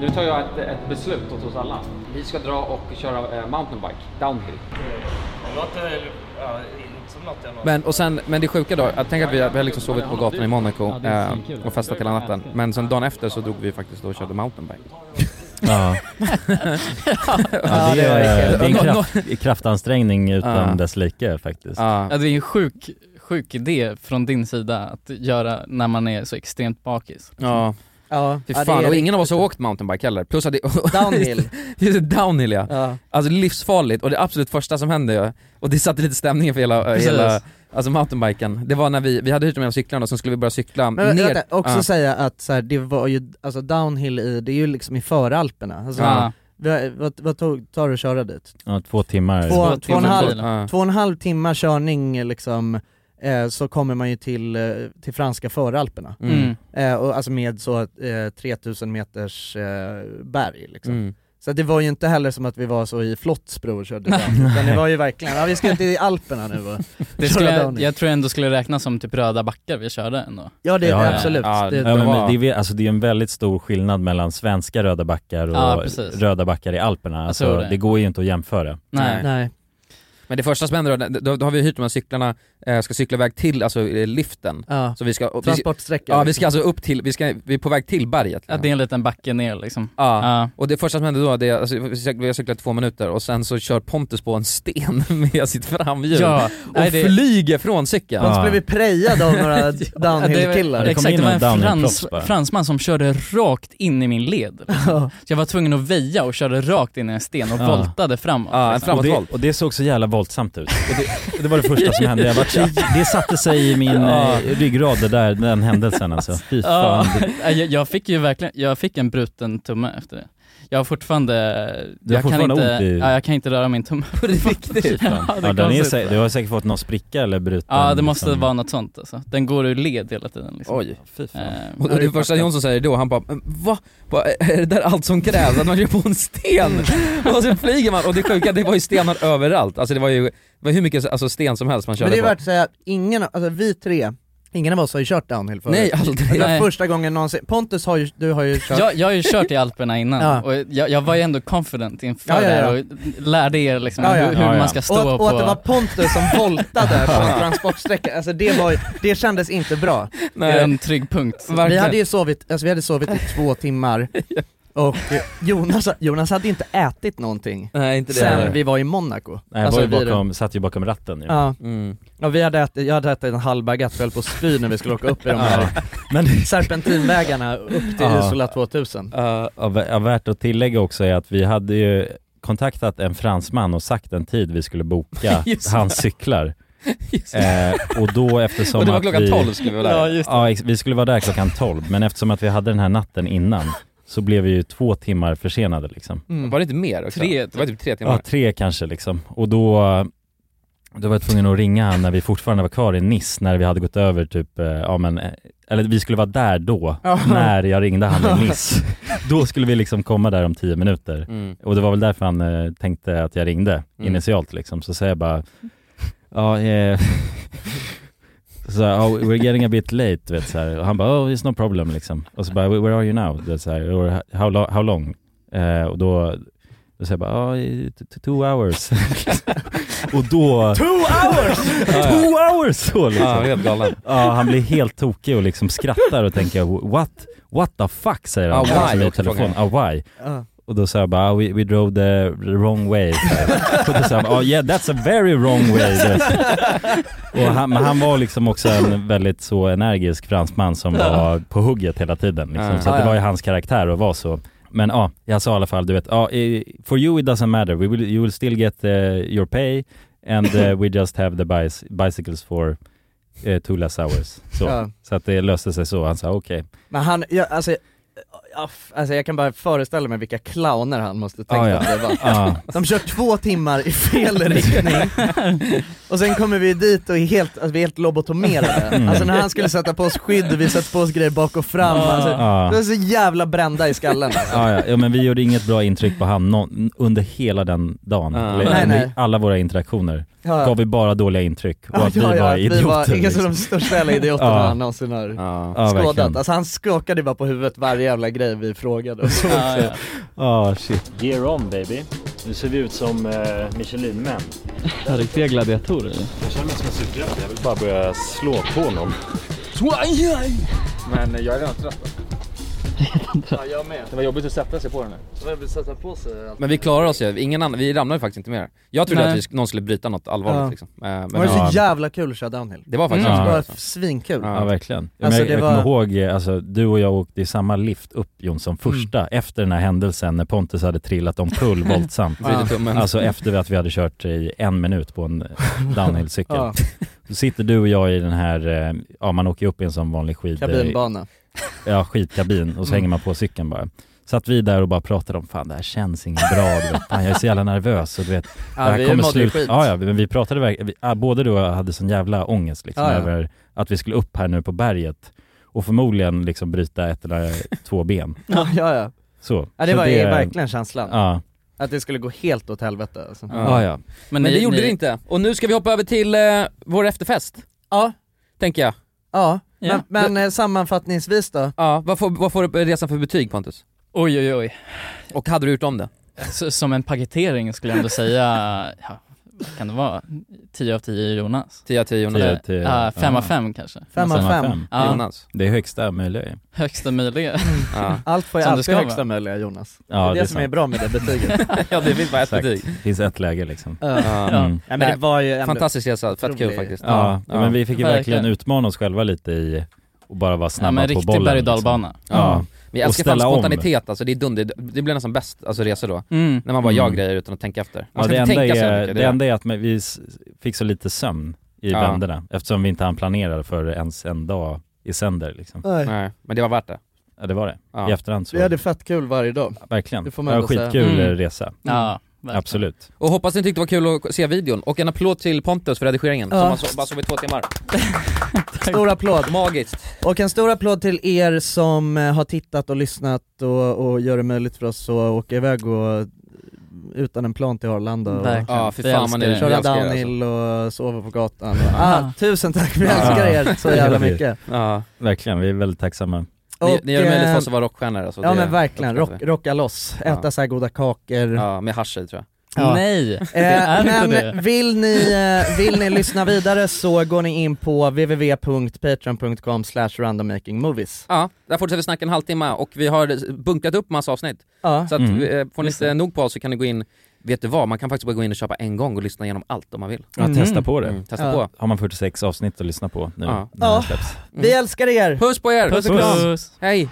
I: nu tar jag ett, ett beslut åt oss alla. Vi ska dra och köra eh, mountainbike, downhill.
X: Låter, ja, som något jag
C: Men, och sen, men det sjuka då, att tänk att vi har vi har liksom sovit på gatan i Monaco
X: Ja, det är
C: eh,
X: svinkul.
C: och festat hela natten. Men sen dagen efter så drog vi faktiskt då och körde mountainbike.
D: Ja. ja, det, är, det är en kraft, kraftansträngning utan
F: Ja.
D: dess like faktiskt.
F: Ja, det är en sjuk, sjuk idé från din sida att göra när man är så extremt bakis.
C: (laughs) Ja.
E: Ja.
C: Fy
F: Ja, det
C: fan,
F: är
C: och ingen av oss har åkt mountainbike heller. Plus att det... (laughs)
E: Downhill.
C: Just det, downhill ja.
E: Ja.
C: Alltså livsfarligt och det absolut första som hände ju, och det satte lite stämningen för hela,
E: Precis.
C: hela alltså mountainbiken, det var när vi, vi hade hyrt de här cyklarna och sen skulle vi börja cykla
E: Men
C: ner.
E: vänta, också
C: Ja.
E: säga att så här, det var ju, alltså downhill i, det är ju liksom i föralperna. Alltså,
D: Ja.
E: vi- vad, vad tog, tar du att köra dit?
D: Ja, två timmar.
E: Två, två, och en halv,
D: Ja.
E: två och en halv timma körning liksom, eh, så kommer man ju till, eh, till franska föralperna.
C: Mm.
E: Eh, och, alltså med så eh, 3000 meters eh, berg liksom.
C: Mm.
E: Så att det var ju inte heller som att vi var så i Flottsbro och körde downhill, utan det var ju verkligen, ja vi ska till Alperna nu och
F: (laughs) Det
E: köra
F: skulle, jag,
E: downhill.
F: jag tror ändå skulle räknas som typ röda backar vi körde ändå.
E: Ja det är
D: Ja, ja.
E: absolut,
D: Ja,
E: det,
D: men, men det, är, alltså, det är en väldigt stor skillnad mellan svenska röda backar och
F: Ja, precis.
D: röda backar i Alperna. Alltså,
C: tror
D: det.
C: det.
D: går ju inte att jämföra.
E: Nej.
C: Men det första som händer då, då, då har vi hyrt de här cyklarna, eh, ska cykla iväg till alltså eh, liften.
E: Ja.
C: Så vi ska, och vi-
E: Transportsträcka.
C: Ja vi ska alltså upp till, vi, ska, vi är på väg till berget. liksom.
F: Att det är en liten backe ner liksom.
C: Ja. och det första som hände då, det, är- alltså, vi cyk- vi har cyklat två minuter och sen så kör Pontus på en sten (laughs) med sitt framhjul
F: Ja.
C: och
F: Nej, det-
C: flyger från cykeln.
E: Pontus blev ju prejad av
F: (laughs)
E: några
F: Det var,
E: downhill-killar.
F: exakt, det var en frans, fransman som körde rakt in i min
C: (laughs)
F: led. Liksom. Så jag var tvungen att väja och körde rakt in i en sten och
D: Ja.
F: voltade framåt. liksom.
D: och, det, och det såg så jävla våldsamt ut. Och det, det var det första som hände. Jag var, det satte sig i min
F: Ja.
D: eh, ryggrad, det där, den händelsen alltså. Fy
F: Ja, (laughs)
D: fan.
F: jag, jag fick ju verkligen, jag fick en bruten tumme efter det. Jag har fortfarande,
D: Du har
F: jag,
D: fortfarande
F: kan
D: ont
F: inte,
D: i-
F: ja, jag kan inte röra min tumme. På riktigt? (laughs) ja, det
D: Ja,
F: är
D: den är
F: konstigt.
D: sä- du har säkert fått någon spricka eller bruten.
F: Ja det måste
D: liksom.
F: vara något sånt alltså. Den går ur led hela tiden liksom.
C: Oj,
D: fy fan.
C: Och det första Jonsson säger då, han bara "Men va? Bara, Är det där allt som krävs? Att man kör på en sten?
E: Mm.
C: Och sen flyger man och det sjuka, det var ju stenar överallt. Alltså det var ju det var hur mycket alltså, sten som helst man körde
E: Men det är
C: på.
E: värt att säga, att ingen, alltså vi tre, ingen av oss har ju kört downhill förut.
C: Nej, aldrig.
E: Det var
F: Nej.
E: första gången någonsin, Pontus har ju, du
F: (laughs)
E: har ju kört
F: Jag, jag har ju kört i Alperna innan
E: (laughs) Ja.
F: och jag, jag var ju ändå confident inför
E: Ja, ja, ja.
F: det här och lärde er liksom
E: Ja, ja.
F: hur, hur
E: Ja, ja.
F: man ska stå
E: och, att-
F: på...
E: och att det var Pontus som voltade på en transportsträcka, alltså det var ju, det kändes inte bra.
F: Det är en trygg punkt.
E: Vi hade ju sovit, alltså vi hade sovit i två timmar Och eh, Jonas, Jonas hade inte ätit någonting
B: Nej, inte det
E: sen
D: heller.
E: vi var i Monaco Alltså,
D: Nej, jag var ju
E: vi-
D: bakom, satt ju bakom ratten ju.
E: Ja, ja vi hade ätit, jag hade ätit en halv baguette höll på att spy när vi skulle åka upp i de här serpentinvägarna upp till
D: Ja.
E: Isola 2000
D: Ja, vä- ja, värt att tillägga också är att vi hade ju kontaktat en fransman och sagt en tid vi skulle boka
C: (laughs) Just det. (laughs)
D: hans cyklar. Eh, och då eftersom
C: Och det var
D: att
C: klockan
D: vi,
C: 12 skulle vi vara där.
D: Ja,
C: Ja,
D: just
C: just
D: det. ex- vi skulle vara där klockan 12 men eftersom att vi hade den här natten innan så blev vi ju två timmar försenade liksom.
C: Mm. Var det inte mer också?
D: Tre-
C: det var typ tre timmar.
D: Ja, tre kanske liksom. Och då, då var jag tvungen att ringa han när vi fortfarande var kvar i Nice, när vi hade gått över typ, eh, ja men, eh, eller vi skulle vara där då,
C: Ja.
D: när jag ringde han i Nice. Då skulle vi liksom komma där om tio minuter.
C: Mm.
D: Och det var väl därför han eh, tänkte att jag ringde
C: Mm.
D: initialt liksom. Så säger jag bara, ja, eh, (laughs) så här, oh, we're getting a bit late, du vet så här. Och han bara, oh it's no problem liksom. Och så bara, where are you now? Du vet, så här, or how, lo- how long? Eh, och då, då säger jag bara, oh, t- t- two hours. (laughs) och då...
E: Two hours!
D: two hours! Så liksom.
C: Ja, helt galen.
D: Ja, han blir helt tokig och liksom skrattar och tänker, what, what the fuck? Säger han.
C: Ah, why?
D: Liksom i
C: Också
D: telefon.
C: frågan.
D: Ah, why?
E: Ja.
D: Och då sa jag bara, "Ah, we, we drove the wrong way. och då sa han, oh, yeah that's a very wrong way.
C: (laughs)
D: Du vet. Och han, men han var liksom också en väldigt så energisk fransman som
C: Ja.
D: var på hugget hela tiden. Liksom.
C: Ja.
D: Så
C: Ja,
D: att det
C: ja.
D: var ju hans karaktär att vara så. Men ja, jag sa i alla fall, du vet, ja, eh, for you it doesn't matter, we will, you will still get eh, your pay and eh, we just have the bice, bicycles for eh, two less hours. Så,
E: Ja.
D: så att det löste sig så, han sa okej.
E: Men han, jag, alltså, ja, f- alltså jag kan bara föreställa mig vilka clowner han måste tänka
D: Ah, ja.
E: att det var.
D: Ah.
E: De kör två timmar i fel
D: (laughs)
E: riktning, och sen kommer vi dit och är helt, alltså, vi är helt lobotomerade.
D: Mm.
E: Alltså när han skulle sätta på oss skydd och vi satte på oss grejer bak och fram,
D: Ah.
E: alltså,
D: Ah.
E: vi var så jävla brända i skallen.
D: Ja, ja, ja, men vi gjorde inget bra intryck på han någon, under hela den dagen.
E: Ja.
D: Eller,
E: Nej,
D: under
E: nej.
D: alla våra interaktioner
E: Ja, ja.
D: gav vi bara dåliga intryck och
E: Ja,
D: att
E: (laughs)
D: vi
E: ja,
D: var
E: ja, att vi
D: idioter.
E: var- vilka som de största jävla idioterna han någonsin har
D: Ja,
E: Skådat,
D: verkligen.
E: alltså han skakade bara på huvudet varje jävla grej vi frågade och så.
D: Ah, Ja, ja. Ja, liksom. shit.
P: Gear on baby. Nu ser vi ut som eh, Michelin-män.
M: Riktiga gladiatorer.
P: Jag känner mig som en superhjälte. Jag vill bara börja slå på någon.
I: Men eh, jag är redan trött. ja, jag med. Det var jobbigt att sätta sig på den här.
K: Jag vill sätta på sig allt.
C: Men vi klarar oss ju, ingen annan, vi ramlade faktiskt inte mer. Jag trodde
E: Nej.
C: att vi, sk- någon skulle bryta något allvarligt liksom. Eh, men-
E: det var så jävla kul att köra downhill.
C: Det var faktiskt
E: mm.
C: kul.
E: det var
C: Ja.
E: svinkul.
D: Ja verkligen. Ja,
E: Alltså,
D: men jag
E: det
D: jag
E: var...
D: kommer ihåg, eh, alltså, du och jag åkte i samma lift upp
E: Mm.
D: Jonsson första, efter den här händelsen när Pontus hade trillat
E: (laughs)
D: omkull våldsamt.
C: Brutit tummen.
D: Alltså efter att vi hade kört i en minut på
E: (laughs)
D: en eh, downhillcykel.
E: Ja.
D: Så sitter du och jag i den här, eh, ja man åker upp i en sån vanlig skid...
E: Kabinbana.
D: (laughs) Ja, skitkabin och så
E: Mm.
D: hänger man på cykeln bara. Satt vi där och bara pratade om, fan det här känns inget bra, du vet, fan jag är så jävla nervös och du vet,
E: Ja,
D: det här
E: vi mådde skit.
D: Ja, ja, men vi pratade verkligen, vi- ah, både du och jag hade sån jävla ångest liksom
E: Ah, Ja, ja.
D: över att vi skulle upp här nu på berget och förmodligen liksom bryta ett eller (laughs) två ben.
E: Ja, ja, ja.
D: Så.
E: ja det
D: så
E: var ju verkligen känslan.
D: Ja.
E: Att det skulle gå helt åt helvete alltså.
D: Ja, ja.
C: Men, det gjorde det inte. Och nu ska vi hoppa över till eh, vår efterfest.
E: Ja.
C: Tänker jag.
E: Ja,
C: Ja.
E: men, men eh, sammanfattningsvis då?
C: Ja, vad får, vad får resan för betyg Pontus?
F: Oj oj oj.
C: Och hade du gjort om det?
F: Så, som en paketering skulle jag ändå säga, ja, vad kan det vara? 10 av 10 Jonas.
C: 10 av 10 Jonas.
F: Eller, ja, fem av fem kanske.
E: Fem av fem.
F: Ja.
C: Jonas.
D: Det är högsta möjliga.
F: Högsta möjliga.
E: Mm.
F: (laughs)
C: Ja.
E: (laughs) Allt får ju
F: Som det
E: alltid
F: ska
E: högsta
F: vara.
E: möjliga Jonas.
D: Ja,
E: det är det,
D: det är
E: som är
D: sant.
E: bra med det
F: (laughs)
E: betyget.
C: ja det finns bara ett
D: Exakt.
C: betyg.
D: Det finns ett läge liksom.
E: Ja. Ja. Nej, men det var ju ändå
C: Fantastisk resa, fett kul
E: otrolig-
C: faktiskt.
D: Ja, ja, men vi fick ju verkligen,
C: Verkligen.
D: utmana oss själva lite i och bara vara
F: Ja,
D: snabba
F: men
D: på
F: riktig
D: bollen.
F: berg- och dalbana.
D: Liksom. Ja.
F: Mm.
C: Vi
D: Och
C: älskar fan
D: ställa om.
C: spontanitet alltså, det är dunder, det blir nästan bäst, alltså resor då.
F: Mm.
C: När man bara gör
D: Mm.
C: grejer utan att tänka efter. Man
D: Ja,
C: ska
D: det,
C: inte
D: enda
C: tänka så
D: är,
C: jävla
D: det,
C: mycket. Det är
D: enda är att men vi s- fick så lite sömn i
C: Ja.
D: vänderna eftersom vi inte hann planera för ens en dag i sänder liksom.
E: Nej.
C: Nej, men det var värt det.
D: Ja det var det.
C: Ja.
D: I efterhand så,
E: Vi hade fett kul varje dag.
D: verkligen.
E: Det
D: Det,
E: får man
D: var
E: ändå säga.
D: skitkul
E: Mm.
D: eh, resa.
F: Ja, verkligen.
D: Absolut.
C: Och hoppas ni tyckte det var kul att se videon. Och en applåd till Pontus för redigeringen,
E: Ja.
C: som han so- bara sov i två timmar.
E: Stor applåd.
C: Magiskt.
E: Och en stor applåd till er som eh, har tittat och lyssnat och, och gör det möjligt för oss att åka iväg och eh, utan en plan till Arlanda och
C: Verkligen. Ja, fy fan, man är- vi
E: köra
C: älskar er, alltså.
E: downhill och sova på gatan. Ah, tusen tack, vi älskar er så
D: Det
E: jävla
D: gör vi.
E: mycket.
C: Ja.
D: Verkligen, vi är väldigt tacksamma.
C: Ni,
E: Och,
C: ni gör det möjligt
E: eh,
C: för oss att vara rockstjärnor alltså.
E: Ja
C: Det
E: men verkligen,
C: uppskattar
E: rock,
C: vi.
E: rocka loss, äta så här goda kakor.
C: Ja, med hasch i, tror jag.
E: Ja.
F: Nej, (laughs) det
E: Eh,
F: är inte
E: men
F: det.
E: Vill, ni, eh, vill ni lyssna vidare så går ni in på www.patreon.com randommakingmovies.
C: Ja, där fortsätter vi snacka en halvtimme och vi har bunkrat upp massa avsnitt.
E: Ja.
C: Så att,
E: Mm.
C: eh, får ni
E: Just
C: inte nog på oss så kan ni gå in, vet du vad, man kan faktiskt bara gå in och köpa en gång och lyssna igenom allt om man vill.
D: Ja, testa på det.
C: Mm, testa på.
D: Har man 46 avsnitt att lyssna på nu
C: Ja. Mm.
D: när
E: Ja.
D: den släpps.
E: Vi älskar er!
C: Puss på er!
D: Puss och kram.
C: Hej!